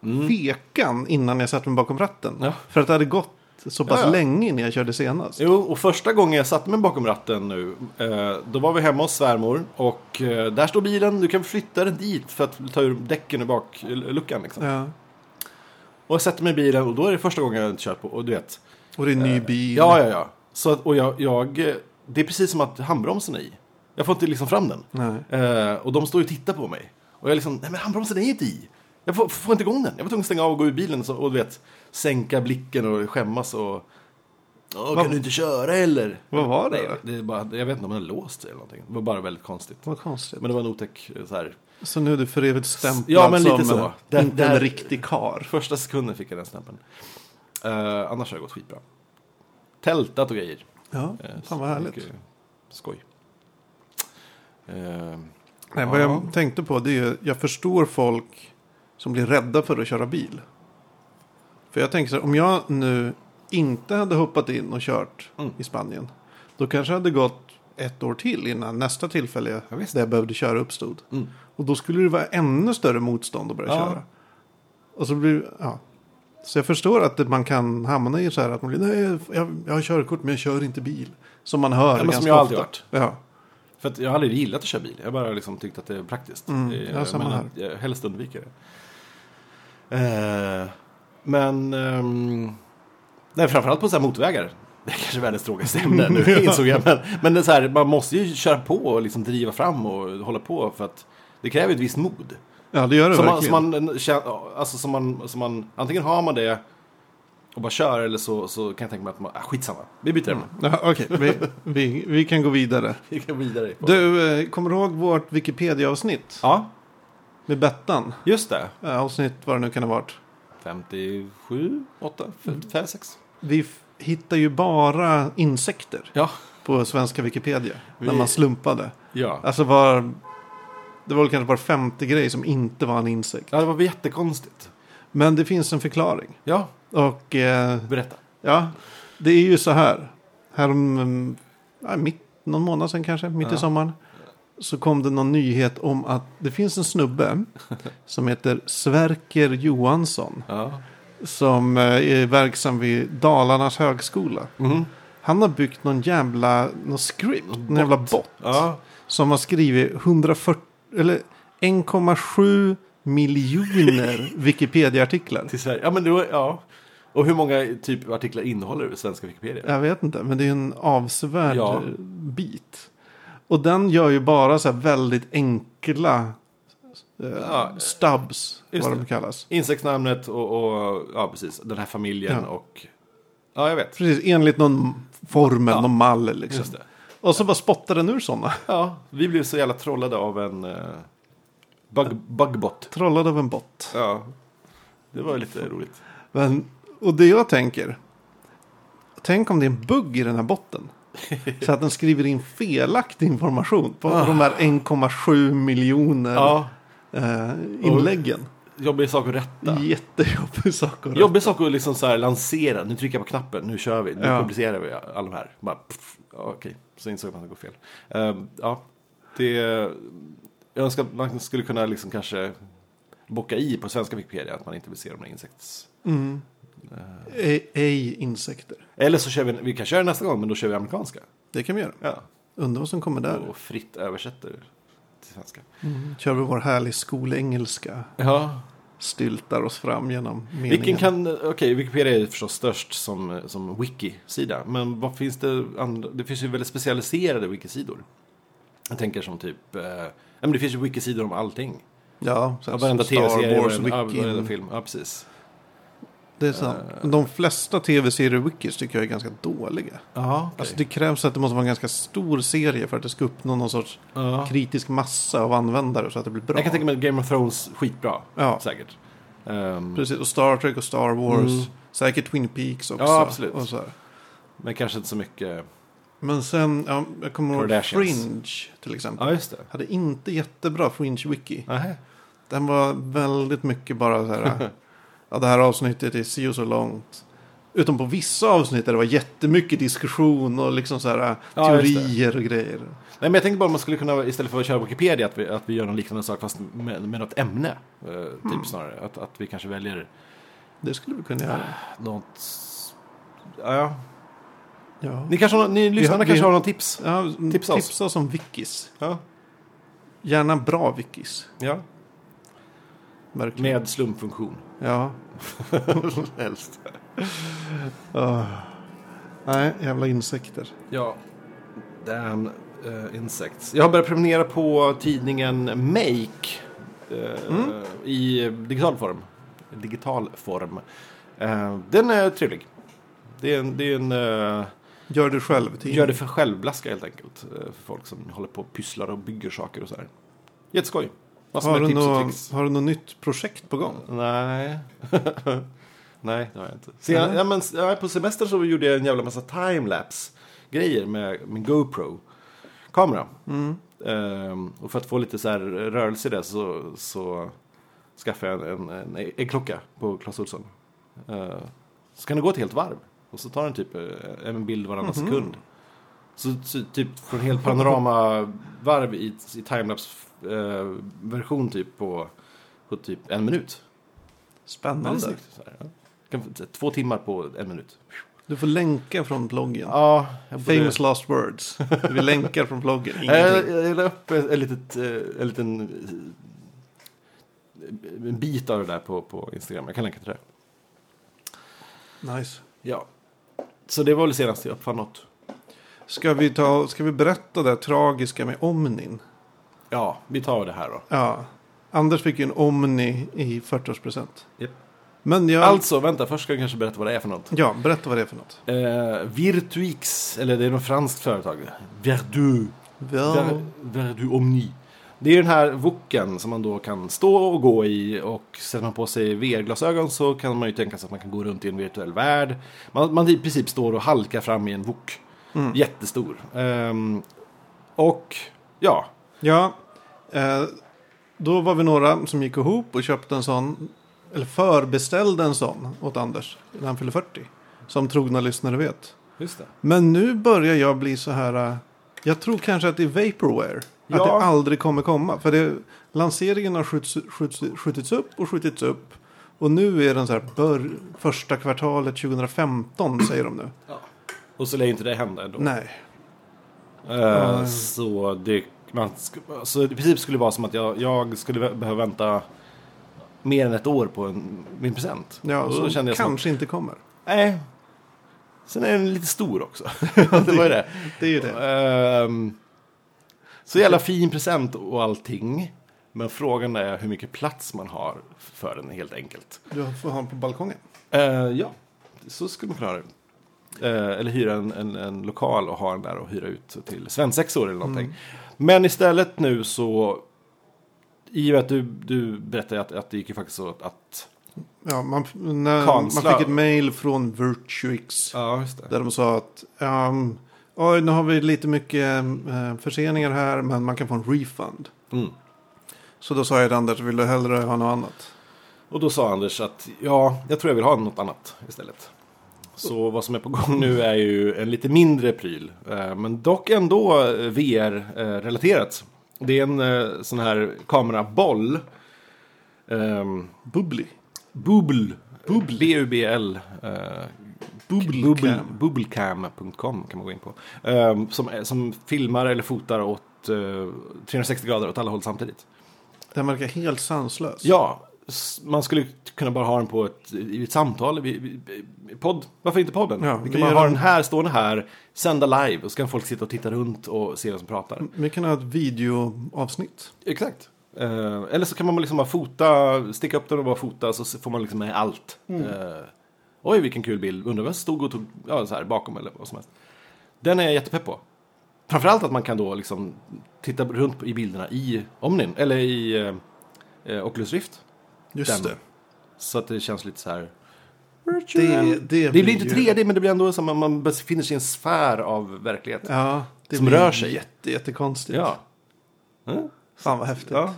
B: tvekan innan jag satte mig bakom ratten.
A: Mm. Ja.
B: För att det hade gått så pass
A: Ja, ja.
B: länge innan jag körde senast.
A: Jo, och första gången jag satte mig bakom ratten nu, eh, då var vi hemma hos svärmor och eh, där står bilen, du kan flytta den dit för att ta ur däcken ur bakluckan. Liksom.
B: Ja.
A: Och jag sätter mig i bilen och då är det första gången jag inte kört på, och du vet.
B: Och det är en ny bil.
A: Eh, Ja, ja, ja. Så, att- och jag, jag, eh, det är precis som att handbromsen är i. Jag får inte liksom fram den.
B: Nej.
A: Eh, och de står ju och tittar på mig. Och jag är liksom, nej men handbromsen är ju inte i. Jag får, får inte igång den. Jag var tvungen att stänga av och gå ur bilen så, och du vet, sänka blicken och skämmas och... Åh, kan
B: Vad-
A: du inte köra eller?
B: Vad var det?
A: Nej, det är bara, jag vet inte om den är låst eller någonting. Det var bara väldigt konstigt.
B: Vad konstigt.
A: Men det var en otäck eh, så här.
B: Så nu är du för evigt stämplad
A: Ja, men lite
B: som
A: så.
B: eh,
A: Det-
B: inte
A: det här-
B: en riktig kar.
A: Första sekunden fick jag den stämpeln. Eh, annars har det gått skitbra. Tältat och grejer.
B: Ja,
A: Eh,
B: fan vad härligt.
A: mycket Skoj. Eh,
B: Nej, vad
A: Ja.
B: jag tänkte på det är ju, jag förstår folk som blir rädda för att köra bil. För jag tänker så här, om jag nu inte hade hoppat in och kört
A: Mm.
B: i Spanien. Då kanske det hade gått ett år till innan nästa tillfälle
A: Ja, visst.
B: där jag behövde köra uppstod.
A: Mm.
B: Och då skulle det vara ännu större motstånd att börja
A: Ja.
B: köra. Och så blir ja. Så jag förstår att man kan hamna i så här att man blir, nej, jag, jag har körkort men jag kör inte bil. Som man hör
A: men som
B: ganska
A: jag alltid
B: ofta.
A: hört.
B: Ja.
A: För att jag har aldrig gillat att köra bil. Jag bara liksom tyckt att det är praktiskt.
B: Mm,
A: Eh,
B: ja, samma
A: men
B: här.
A: att jag helst undviker det. Eh, men... ehm, nej, framförallt på så här motorvägar. Det är kanske världens tråkigaste ämne nu, insåg jag. Men, men det är så här, man måste ju köra på och liksom driva fram och hålla på. För att det kräver ett visst mod.
B: ja, det gör det
A: Som man,
B: verkligen.
A: som man, känner- alltså som man, som man, antingen har man det och bara kör eller så, så kan jag tänka mig att man, ah, skitsamma, vi byter ämne.
B: Ja, Okej, vi, vi, vi kan gå vidare.
A: Vi kan gå vidare. på-
B: Du, eh, kommer du ihåg vårt Wikipedia-avsnitt
A: Ja,
B: med Bettan?
A: just det.
B: Eh, Avsnitt vad det nu kan ha varit.
A: 57, 8, 55, 6.
B: Vi f- hittar ju bara insekter
A: Ja.
B: på svenska Wikipedia. När
A: Vi-
B: man slumpade.
A: Ja.
B: Alltså var... Det var väl kanske bara femte grej som inte var en insekt.
A: ja, det var väl jättekonstigt.
B: Men det finns en förklaring.
A: Ja,
B: Och eh,
A: berätta.
B: ja, det är ju så här. Härom... mm, Ja, mitt, någon månad sedan kanske, mitt
A: Ja.
B: i sommaren. Så kom det någon nyhet om att det finns en snubbe som heter Sverker Johansson.
A: Ja.
B: Som eh, är verksam vid Dalarnas högskola.
A: Mhm.
B: Han har byggt någon jävla någon script, någon jävla bot.
A: Ja.
B: Som har skrivit 140, eller 1,7 miljoner Wikipedia-artiklar.
A: Till Sverige. Ja, men du, ja. Och hur många typ artiklar innehåller svenska Wikipedia?
B: Jag vet inte, men det är en avsevärd
A: Ja.
B: eh, bit. Och den gör ju bara så här väldigt enkla eh,
A: Ja,
B: stubs,
A: just
B: vad
A: det.
B: de kallas.
A: Insektsnamnet och, och ja, precis, den här familjen
B: Ja.
A: och... Ja, jag vet.
B: Precis, enligt någon formel,
A: Ja.
B: någon mall liksom.
A: Just det.
B: Och så bara spottar den ur sådana.
A: Ja, vi blev så jävla trollade av en eh, bug, bugbot.
B: Trollad av en bot.
A: Ja. Det var lite roligt.
B: Men, och det jag tänker. Tänk om det är en bugg i den här botten. Så att den skriver in felaktig information på
A: Ah.
B: de här 1,7 miljoner
A: Ja,
B: eh, inläggen.
A: jobbig sak att rätta.
B: Jättejobbig sak att
A: Jobbig sak att liksom så här lansera. Nu trycker jag på knappen, nu kör vi. Nu
B: Ja.
A: publicerar vi alla de här. Bara, pff, ja, okej, så insåg man att det går fel. Ehm, ja, det... Jag önskar att man skulle kunna liksom kanske bocka i på svenska Wikipedia att man inte vill se de här insekts...
B: Mm. Ej, ej insekter.
A: Eller så kör vi, vi kan köra nästa gång, men då kör vi amerikanska.
B: Det kan vi göra.
A: Ja.
B: Undrar vad som kommer där.
A: Och fritt översätter till svenska.
B: Mm. Kör vi vår härlig skolengelska.
A: Ja,
B: Styltar oss fram genom meningen.
A: Vilken kan, okej, Wikipedia är ju förstås störst som, som wiki-sida. Men vad finns det andra, det finns ju väldigt specialiserade wikisidor. Jag tänker som typ, eh, ja, men det finns ju wikisidor om allting.
B: Ja, så
A: Ja,
B: här
A: varenda
B: Star
A: tv-serie,
B: Wars,
A: varenda, ja, varenda
B: Wiki.
A: film. Ja, precis.
B: Det är sant. De flesta tv-serier Wikis tycker jag är ganska dåliga.
A: Ja,
B: Alltså det krävs att det måste vara en ganska stor serie för att det ska uppnå någon sorts
A: ja.
B: kritisk massa av användare så att det blir bra.
A: Jag kan tänka mig att Game of Thrones skitbra,
B: Ja,
A: säkert. Ehm,
B: precis. Och Star Trek och Star Wars.
A: Mm.
B: Säkert Twin Peaks också.
A: Ja, absolut.
B: Och så här.
A: men kanske inte så mycket
B: Men sen, ja, jag kommer ihåg
A: Kardashians.
B: Fringe till exempel.
A: Ja, just det.
B: Hade inte jättebra Fringe Wiki.
A: Nej.
B: Den var väldigt mycket bara så här. ja, det här avsnittet är si och så långt. Utom på vissa avsnitt där det var jättemycket diskussion och liksom så här,
A: Ja, just det.
B: teorier och grejer.
A: Nej, men jag tänkte bara om man skulle kunna, istället för att köra Wikipedia, att vi, att vi gör någon liknande sak fast med, med något ämne. Eh, typ snarare. Att, att vi kanske väljer
B: Det skulle vi kunna göra.
A: Ah. något... Ja.
B: Ja,
A: Ni, kanske, har- ni lyssnarna
B: vi-
A: kanske har någon tips?
B: ja
A: Tipsa
B: tipsa,
A: oss.
B: oss. tipsa oss om wikis.
A: Ja.
B: Gärna bra wikis.
A: ja.
B: Verkligen.
A: Med slumfunktion.
B: Ja. Helst. Ah.
A: Öh.
B: Nej, jävla insekter.
A: Ja. Damn eh, insects. Jag har börjat prenumerera på tidningen Make. eh,
B: Mm.
A: I digital form. Digital form. Eh, den är trevlig. Det är en... Det är en eh,
B: Gör du själv. Tim.
A: Gör det för självblaska helt enkelt. eh, För folk som håller på och pysslar och bygger saker och så här. Jätteskoj. Massor
B: har,
A: med
B: du
A: tips och
B: nå,
A: tricks.
B: har du något nytt projekt på gång?
A: Nej. Nej, det har jag inte. Sen,
B: Nej.
A: ja, men, ja, på semester så gjorde jag en jävla massa timelapse-grejer med min GoPro-kamera. Ehm, och för att få lite så här rörelse i det så, så skaffade jag en, en, en, en klocka på Clas Ohlson. Ehm, så kan det gå ett helt varv. Och så tar den typ eh, en bild varannan sekund. Så, så typ från helt panoramavarv i, i timelapse-version typ på, på typ en minut.
B: Spännande.
A: Så här, ja. Kan få- Två timmar på en minut.
B: Du får länka från bloggen.
A: Ja, jag borde...
B: Famous last words. Vi länkar från bloggen.
A: Jag,
B: Ingenting.
A: jag la upp en, en, litet, eh, en liten eh, en bit av det där på, på Instagram. Jag kan länka till det.
B: Nice.
A: Ja. Så det var väl senast jag uppfann något.
B: Ska vi, ta, ska vi berätta det tragiska med Omnin?
A: Ja, vi tar det här då.
B: Ja. Anders fick ju en Omni i 40-årspresent.
A: Japp.
B: Men jag...
A: Alltså, vänta, först ska jag kanske berätta vad det är för något.
B: Ja, berätta vad det är för något.
A: Eh, Virtuix, eller det är något franskt företag. Verdu. Ver, Verdu Omni. Det är den här voken som man då kan stå och gå i och sätter man på sig VR-glasögon så kan man ju tänka sig att man kan gå runt i en virtuell värld. Man, man i princip står och halkar fram i en vok.
B: Mm.
A: Jättestor. Ehm, och ja,
B: Ja, eh, då var vi några som gick ihop och köpte en sån, eller förbeställde en sån åt Anders när han fyllde 40. Som trogna lyssnare vet.
A: just det.
B: Men nu börjar jag bli så här, eh, jag tror kanske att det är vaporware. Att
A: Ja.
B: det aldrig kommer komma. För det, lanseringen har skjuts, skjuts, skjutits upp och skjutits upp. Och nu är den så här, bör, första kvartalet 2015 säger de nu.
A: Och så lär ju inte det hända ändå.
B: Nej,
A: Eh,
B: Nej.
A: Så det man, sk- så i princip skulle det vara som att jag, jag skulle vä- behöva vänta mer än ett år på en, min present.
B: ja,
A: Och då
B: så
A: kände jag som att-
B: kanske inte kommer.
A: Nej. Sen är den lite stor också. det var ju det.
B: Det är ju det.
A: Ehm, så jävla fin present och allting. Men frågan är hur mycket plats man har för den helt enkelt.
B: Du får ha den på balkongen.
A: Eh, ja, så skulle man kunna ha det. Eh, eller hyra en, en, en lokal och ha den där och hyra ut till svensexor eller någonting. Men istället nu så, i och med att du, du berättade att, att det gick ju faktiskt så att, att
B: Ja, man, när, man
A: Kansla.
B: fick ett mail från Virtuix.
A: ja, just det.
B: Där de sa att ehm, oj, nu har vi lite mycket eh, förseningar här men man kan få en refund.
A: Mm.
B: Så då sa jag till Anders, vill du hellre ha något annat?
A: Och då sa Anders att ja, jag tror jag vill ha något annat istället. Så vad som är på gång nu är ju en lite mindre pryl. eh, Men dock ändå eh, VR-relaterat. Det är en eh, sån här kameraboll. Ehm,
B: Bubbly.
A: Bubble. Bubble. B-U-B-L. eh,
B: Bubblecam.
A: Bubblecam.com kan man gå in på. Ehm, som, som filmar eller fotar åt eh, 360 grader åt alla håll samtidigt.
B: Den verkar helt sanslös.
A: Ja, s- man skulle kunna bara ha den på ett, i ett samtal, i, i, i podd. Varför inte podden?
B: Ja,
A: vi
B: vi
A: kan bara
B: gör
A: ha
B: en-
A: den här, stående här, sända live och så kan folk sitta och titta runt och se vem som pratar.
B: Vi kan ha ett videoavsnitt.
A: Exakt. Eh, eller så kan man liksom bara fota, sticka upp den och bara fota så s- får man liksom med allt.
B: Mm.
A: Eh, oj, vilken kul bild. Undrar vem som stod och tog ja, så här, bakom eller vad som helst. Den är jag jättepepp på. Framförallt att man kan då liksom titta runt i bilderna i Omnin, eller i eh, eh, Oculus Rift. Den.
B: Just det.
A: Så att det känns lite så här Virtual.
B: Det-
A: Det,
B: det
A: blir inte
B: blir
A: 3D men det blir ändå som att man befinner sig i en sfär av verklighet.
B: Ja, det
A: Som
B: blir
A: rör sig.
B: Jätte, jättekonstigt.
A: Ja. Mm.
B: Fan vad häftigt.
A: Ja.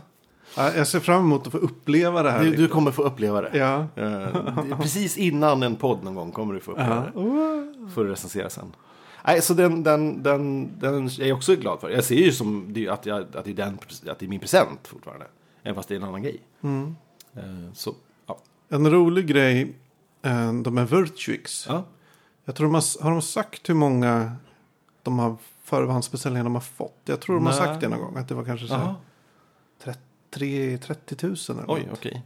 B: Ja, jag ser fram emot att få uppleva det här.
A: Du, du kommer få uppleva det.
B: Ja.
A: Eh, det- precis innan en podd någon gång kommer du få uppleva det. Får du recensera sen. Nej, så den, den, den, den är jag också glad för. Jag ser ju som det- att, jag, att, det är den, att det är min present fortfarande. Även fast det är en annan grej.
B: Mm.
A: Eh, Så, ja.
B: En rolig grej, eh, de här Virtuix.
A: ja.
B: Jag tror de har, har de sagt hur många de har förhandsbeställningar de har fått? Jag tror de har
A: Nej.
B: sagt det någon gång. Att det var kanske så här
A: Jaha.
B: 30, 30 000 eller
A: Oj,
B: något.
A: okej.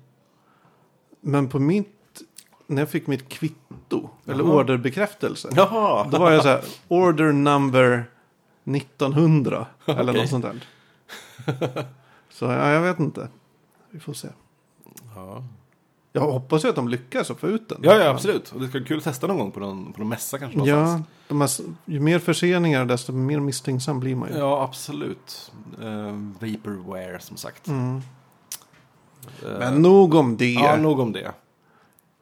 B: Men på mitt, när jag fick mitt kvitto, eller
A: Jaha.
B: orderbekräftelse.
A: Jaha!
B: Då var jag så här, order number 1900. Eller
A: Okej.
B: något sånt där. Så ja, jag vet inte. Vi får se.
A: Ja.
B: Jag hoppas ju att de lyckas att få ut den.
A: Ja, ja, absolut. Och det ska bli kul att testa någon gång på någon, på någon mässa kanske någonstans.
B: Ja, de här, ju mer förseningar desto mer misstänksam blir man ju.
A: Ja, absolut. Eh, vaporware som sagt.
B: Mm.
A: Eh,
B: Men nog om det.
A: ja, nog om det.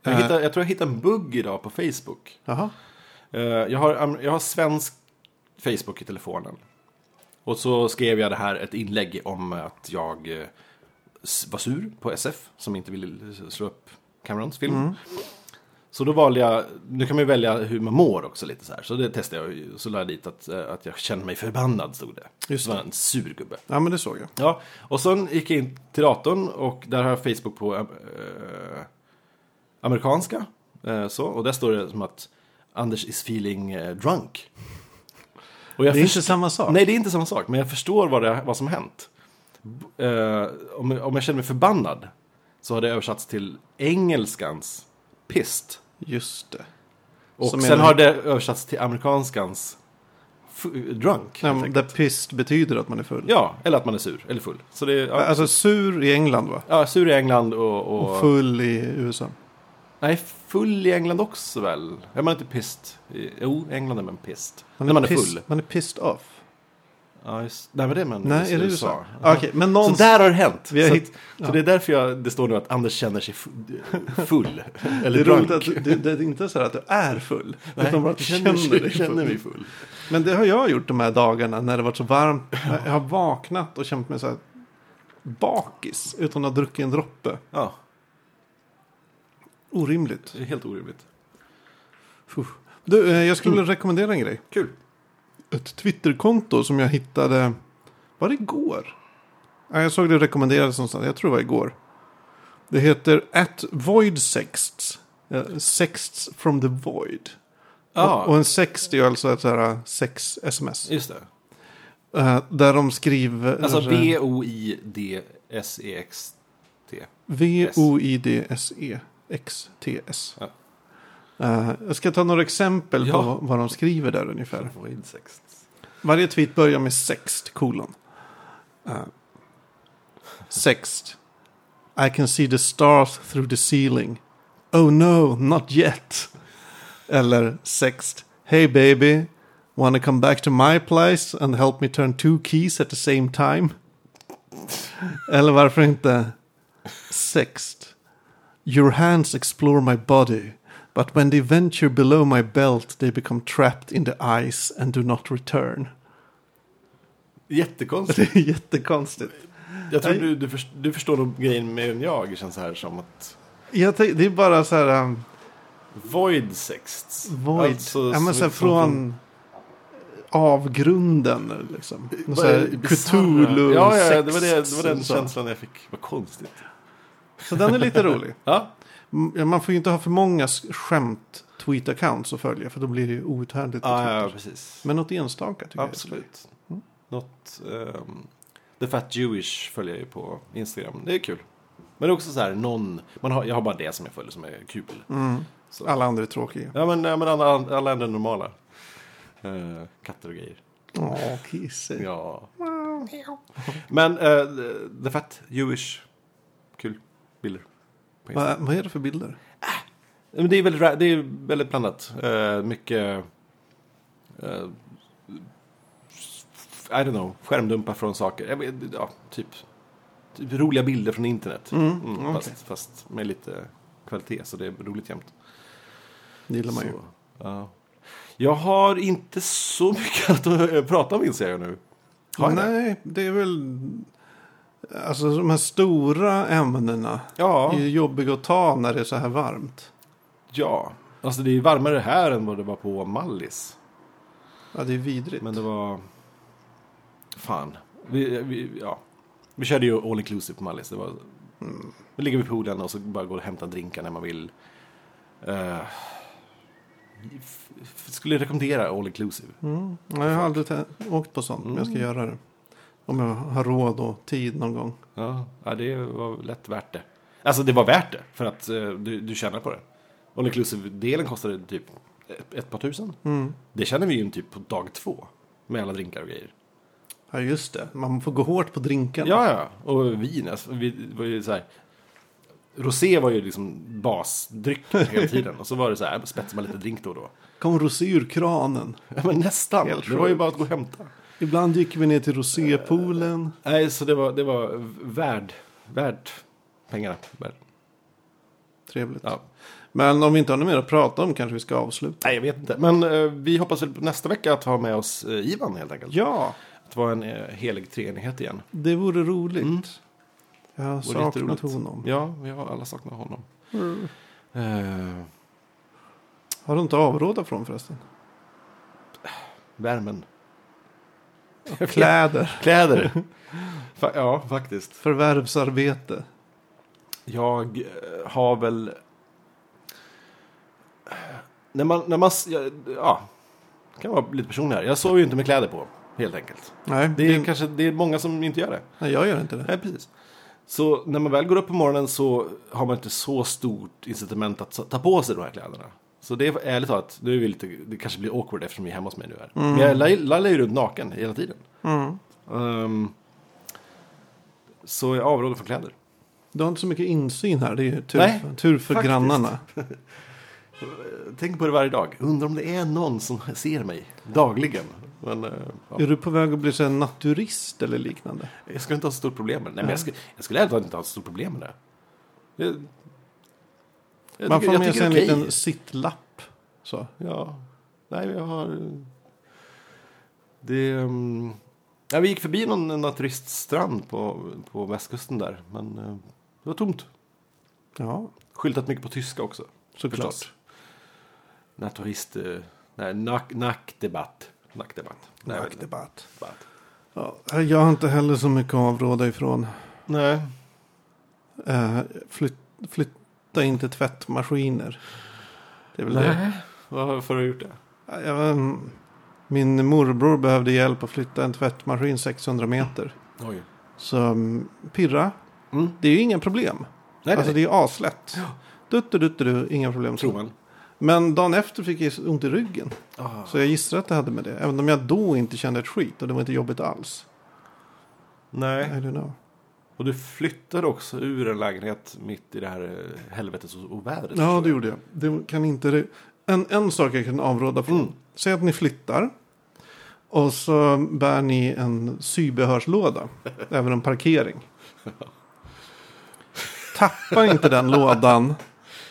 A: Jag,
B: Eh.
A: hittade, jag tror jag hittade en bugg idag på Facebook.
B: Jaha.
A: Eh, jag, har, am- jag har svensk Facebook i telefonen. Och så skrev jag det här, ett inlägg om att jag eh, s- var sur på SF som inte ville slå upp Camerons film.
B: Mm.
A: Så då valde jag, nu kan man ju välja hur man mår också lite så här. Så det testade jag ju. så la jag dit att, eh, att jag känner mig förbannad stod det.
B: Just
A: det var en sur gubbe.
B: Ja, men det såg jag.
A: Ja, och sen gick jag in till datorn och där har jag Facebook på eh, amerikanska. Eh, så, och där står det som att Anders is feeling eh, drunk. Och jag
B: Det är
A: först-
B: inte samma sak.
A: Nej, det är inte samma sak, men jag förstår vad, det, vad som hänt. B- Eh, om, om jag känner mig förbannad så har det översatts till engelskans pissed.
B: Just det.
A: Och
B: Som är
A: sen
B: en-
A: har det översatts till amerikanskans f- drunk.
B: Nej,
A: helt
B: men
A: enkelt.
B: där pissed betyder att man är full.
A: Ja, eller att man är sur, eller full. Så det, ja.
B: Alltså sur i England va?
A: Ja, sur i England och... och,
B: Och full i USA.
A: Nej, full i England också väl? Är man inte pissed? I- Jo, i England är man pissed.
B: Man
A: När man är
B: piss-
A: full.
B: Man är pissed off.
A: Ja, just, nej, men det är man
B: Nej, är det USA? Ah,
A: Ja.
B: Okej, men någon...
A: Så där har det hänt.
B: Vi har
A: så,
B: hitt-
A: att,
B: ja.
A: så det är därför jag, det står nu att Anders känner sig fu- full.
B: Det
A: eller
B: är
A: drunk.
B: roligt att du, det är inte så här att du är full.
A: Nej,
B: utan bara att du känner, dig
A: känner
B: full.
A: mig full.
B: Men det har jag gjort de här dagarna när det varit så varmt. Jag har vaknat och känt mig så här bakis utan att ha druckit en droppe.
A: Ja,
B: Orimligt.
A: det är helt orimligt.
B: Fuh. Du, eh, jag
A: Mm.
B: skulle rekommendera en grej.
A: Kul.
B: Ett Twitterkonto som jag hittade. Var det igår? Ja, jag såg det rekommenderas någonstans. Jag tror det var igår. Det heter at voidsexts. Eh, Sexts from the void.
A: Ja,
B: Och, och en sext är ju alltså ett så här sex-sms.
A: just det.
B: Äh, där de skriver... äh,
A: Alltså E B-O-I-D-S-E-X-T.
B: E V-O-I-D-S-E-X-T-S.
A: Ja.
B: Eh, jag ska ta några exempel
A: Ja.
B: på vad- vad de skriver där ungefär.
A: Void sext.
B: Varje tweet börjar med sext, kolon. Eh, sext. I can see the stars through the ceiling. Oh no, not yet. Eller sext. Hey baby, wanna come back to my place and help me turn two keys at the same time? Eller varför inte sext. Your hands explore my body, but when they venture below my belt they become trapped in the ice and do not return.
A: Jättekonstigt.
B: Det är jättekonstigt.
A: Jag tror
B: Nej.
A: du, du, först, du förstår nog grejen mer än jag. Det känns här som att
B: Jag tänk, det är bara så här... Um,
A: Void sexts.
B: void.
A: Alltså,
B: ja, men så här från avgrunden liksom. Någon Så här, Cthulhu
A: Ja, ja, det var, det, det
B: sexts
A: var den
B: och så.
A: känslan jag fick. Vad konstigt.
B: Så den är lite rolig.
A: Ja,
B: M- ja, Man får ju inte ha för många s- skämt tweet-accounts att följa för då blir det ju outhärdligt. på
A: ja, ja
B: Twitter.
A: precis.
B: Men något enstaka tycker
A: Absolut. Något... ehm, The Fat Jewish följer jag ju på Instagram. Det är kul. Men det är också så här någon... Man har, jag har bara det som jag följer som är kul.
B: jag. Mm.
A: Så.
B: Alla andra är tråkiga.
A: Ja, men, ja, men alla, alla andra är normala. Eh, katter och grejer.
B: Åh, kissig.
A: Ja. Men eh, The Fat Jewish. Kul bilder. på Instagram.
B: Vad, vad är det för bilder?
A: Ja, Men det är väldigt, ra- det är väldigt blandat. Eh, mycket... eh, I don't know. Skärmdumpar från saker. Jag vet- Ja, typ, typ roliga bilder från internet.
B: Mm,
A: Mm,
B: okej.
A: fast, fast med lite kvalitet, så det är roligt jämt.
B: Det gillar man ju.
A: Så, ja. Jag har inte så mycket att eh, prata om inser jag nu. Har jag det?
B: Nej, det är väl... Alltså de här stora ämnena
A: Ja,
B: är ju jobbiga att ta när det är så här varmt.
A: ja. Alltså det är varmare här än vad det var på Mallis.
B: Ja, det är vidrigt.
A: Men det var... Fan. Vi, vi, ja. vi körde ju all inclusive på Mallis. Det var... Vi ligger vid poolen och så bara går och hämtar drinkar när man vill. Eh, f- f- skulle rekommendera all inclusive.
B: Mm. Nej, Jag har aldrig tä- åkt på sånt, men jag
A: Mm.
B: ska göra det. Om jag har råd och tid någon gång.
A: Ja, ja, det var lätt värt det. Alltså det var värt det för att eh, du, du tjänar på det. All inclusive-delen kostade typ ett, ett par tusen. Det känner vi ju typ på dag två. Med alla drinkar och grejer.
B: Ja, just det. Man får gå hårt på drinken.
A: Ja, ja. Och vin. Alltså, vi det var ju så här. Rosé var ju liksom basdrycken hela tiden. Och så var det så här, spetsade man lite drink då och då.
B: Kom rosé ur kranen.
A: Ja, men nästan.
B: Helt
A: det var ju
B: sjukt.
A: bara att gå och hämta.
B: Ibland gick vi ner till rosépoolen.
A: Nej, så det var, det var värd, värt pengarna. Värd.
B: Trevligt.
A: Ja.
B: Men om vi inte har något mer att prata om kanske vi ska avsluta.
A: Nej, jag vet inte. Men eh, vi hoppas väl på nästa vecka att ha med oss eh, Ivan helt enkelt.
B: Ja,
A: Att vara en eh, helig treenighet igen.
B: det vore roligt.
A: Mm.
B: Jag har
A: Vore
B: saknat
A: jätteroligt.
B: honom.
A: Ja, vi har alla saknat honom. Mm. Eh,
B: Har du inte avråda från förresten?
A: värmen.
B: Kläder,
A: Kläder. Fa- ja, faktiskt.
B: förvärvsarbete.
A: Jag eh, har väl... När man... När man s- ja, ja, det kan vara lite personlig här. Jag sover ju inte med kläder på, helt enkelt.
B: Nej,
A: Det är, kanske, det är många som inte gör det.
B: nej, jag gör inte det.
A: Mm. Nej, precis. Så när man väl går upp på morgonen så har man inte så stort incitament att ta på sig de här kläderna. Så det är ärligt talat, nu är vi lite, det kanske blir awkward eftersom vi är hemma hos mig nu. Här. Men jag lall- lallar ju runt naken hela tiden.
B: Mm.
A: Ehm, så jag avråder från kläder.
B: Du har inte så mycket insyn här. Det är ju tur,
A: Nej,
B: tur för
A: faktiskt.
B: grannarna.
A: Tänk på det varje dag. Undrar om det är någon som ser mig dagligen. Men, eh, ja.
B: Är du på väg att bli så här naturist eller liknande?
A: Jag skulle inte ha så stort problem med det. Nej, men jag, skulle, jag skulle ärligt talat inte ha så stort problem med det. Jag, jag
B: Man
A: tycker-
B: får
A: jag
B: med
A: tycker
B: sig en
A: det är okej.
B: liten sittlapp. Så.
A: Ja. Nej, jag har... eh, Det... ehm, Ja, vi gick förbi någon naturiststrand på, på västkusten där. Men eh, det var tomt.
B: Ja,
A: Skyltat mycket på tyska också.
B: såklart.
A: förstås. Naturist... eh, Nej, nack, nackdebatt. Nackdebatt. Nej, jag vet inte.
B: Nackdebatt.
A: Debatt.
B: Ja, jag har inte heller så mycket att avråda ifrån.
A: Nej.
B: Eh, flyt, flytta inte tvättmaskiner. Det är väl det.
A: Varför har du gjort det?
B: Ja, Jag, mm, min morbror behövde hjälp att flytta en tvättmaskin 600 meter.
A: Oj.
B: Så mm, pirra,
A: Mm.
B: det är ju inga problem.
A: Nej,
B: alltså
A: nej.
B: det är aslätt. Duttu, duttu, du, inga problem.
A: Tror man.
B: Men dagen efter fick jag ont i ryggen.
A: Ah.
B: Så jag gissar att det hade med det. Även om jag då inte kände ett skit och det var inte jobbigt alls. I
A: Nej.
B: don't know.
A: Och du flyttade också ur en lägenhet mitt i det här eh, helvetes och, och vädret.
B: Ja, det gjorde jag. Det kan inte... re- En, en sak jag kan avråda från.
A: Mm.
B: Säg att ni flyttar. Och så bär ni en sybehörslåda. även en parkering. Tappa inte den lådan.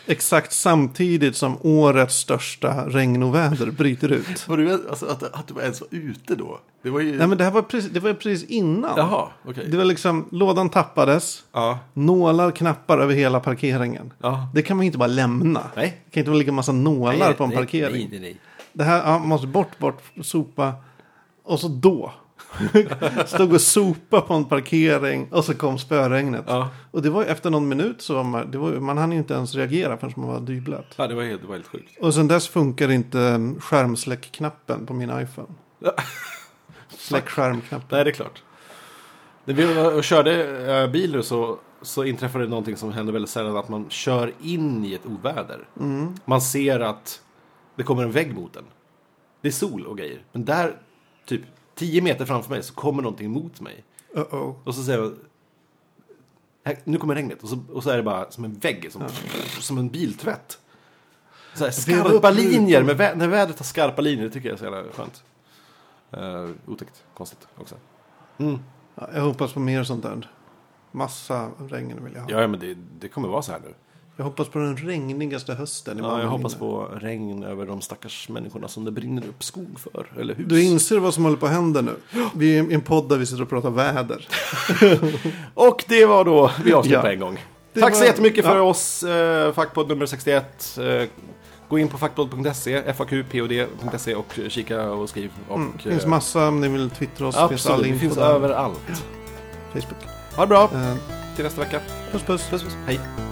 B: Exakt samtidigt som årets största regn och väder bryter ut.
A: Var du, alltså, att, att du ens var ute då? Det var ju...
B: Nej men det här var precis, det var precis innan.
A: Jaha, okej.
B: Det var liksom, lådan tappades.
A: Ja.
B: Nålar, knappar över hela parkeringen.
A: ja.
B: Det kan man ju inte bara lämna.
A: Nej.
B: Det kan inte bara ligga en massa nålar på en parkering.
A: Nej, nej, nej.
B: Det här, ja, man måste bort, bort, sopa. Och så då. Stod och sopa på en parkering och så kom spöregnet.
A: Ja.
B: Och det var ju efter någon minut så var man, det var, ju- man hann ju inte ens reagera förrän man var dyblöt.
A: Ja, det var helt, det var helt sjukt.
B: Och sen dess funkar inte mm, skärmsläckknappen på min iPhone.
A: Ja.
B: Släck skärmknappen.
A: Nej, det är klart. När vi var och körde eh, bil nu så, så inträffade det någonting som händer väldigt sällan. Att man kör in i ett oväder. Man ser att det kommer en vägg mot en. Det är sol och grejer. Men där, typ 10 meter framför mig, så kommer någonting mot mig.
B: Uh-oh.
A: Och så säger jag... Här, nu kommer regnet. Och så, och så är det bara som en vägg. Som, som en biltvätt. Så här,
B: Veva upp
A: skarpa
B: rutan.
A: linjer. Med vä- när vädret har skarpa linjer det tycker jag är så jävla skönt. Uh, otäckt. Konstigt också. Mm.
B: Ja, Jag hoppas på mer sånt där. Massa regn vill jag ha.
A: Ja, ja, men det, det kommer vara så här nu.
B: Jag hoppas på den regnigaste hösten i
A: Ja,
B: Malmö
A: jag hoppas
B: inne.
A: på regn över de stackars människorna som det brinner upp skog för. Eller hus.
B: Du inser vad som håller på att hända nu. Vi är i en podd där vi sitter och pratar väder.
A: Och det var då vi avslutar
B: Ja.
A: på en gång.
B: Det
A: Tack så
B: var-
A: jättemycket för
B: ja.
A: oss, eh, Fackpodd nummer 61. Eh, gå in på fackpodd.se, faqpod.se och kika och skriv. Och,
B: Mm. Det finns
A: eh,
B: massa om ni vill twittra oss.
A: Absolut,
B: finns all
A: det
B: info
A: finns
B: där.
A: överallt.
B: Facebook.
A: Ha det bra,
B: Eh,
A: till nästa vecka.
B: puss puss.
A: Puss, puss. Hej.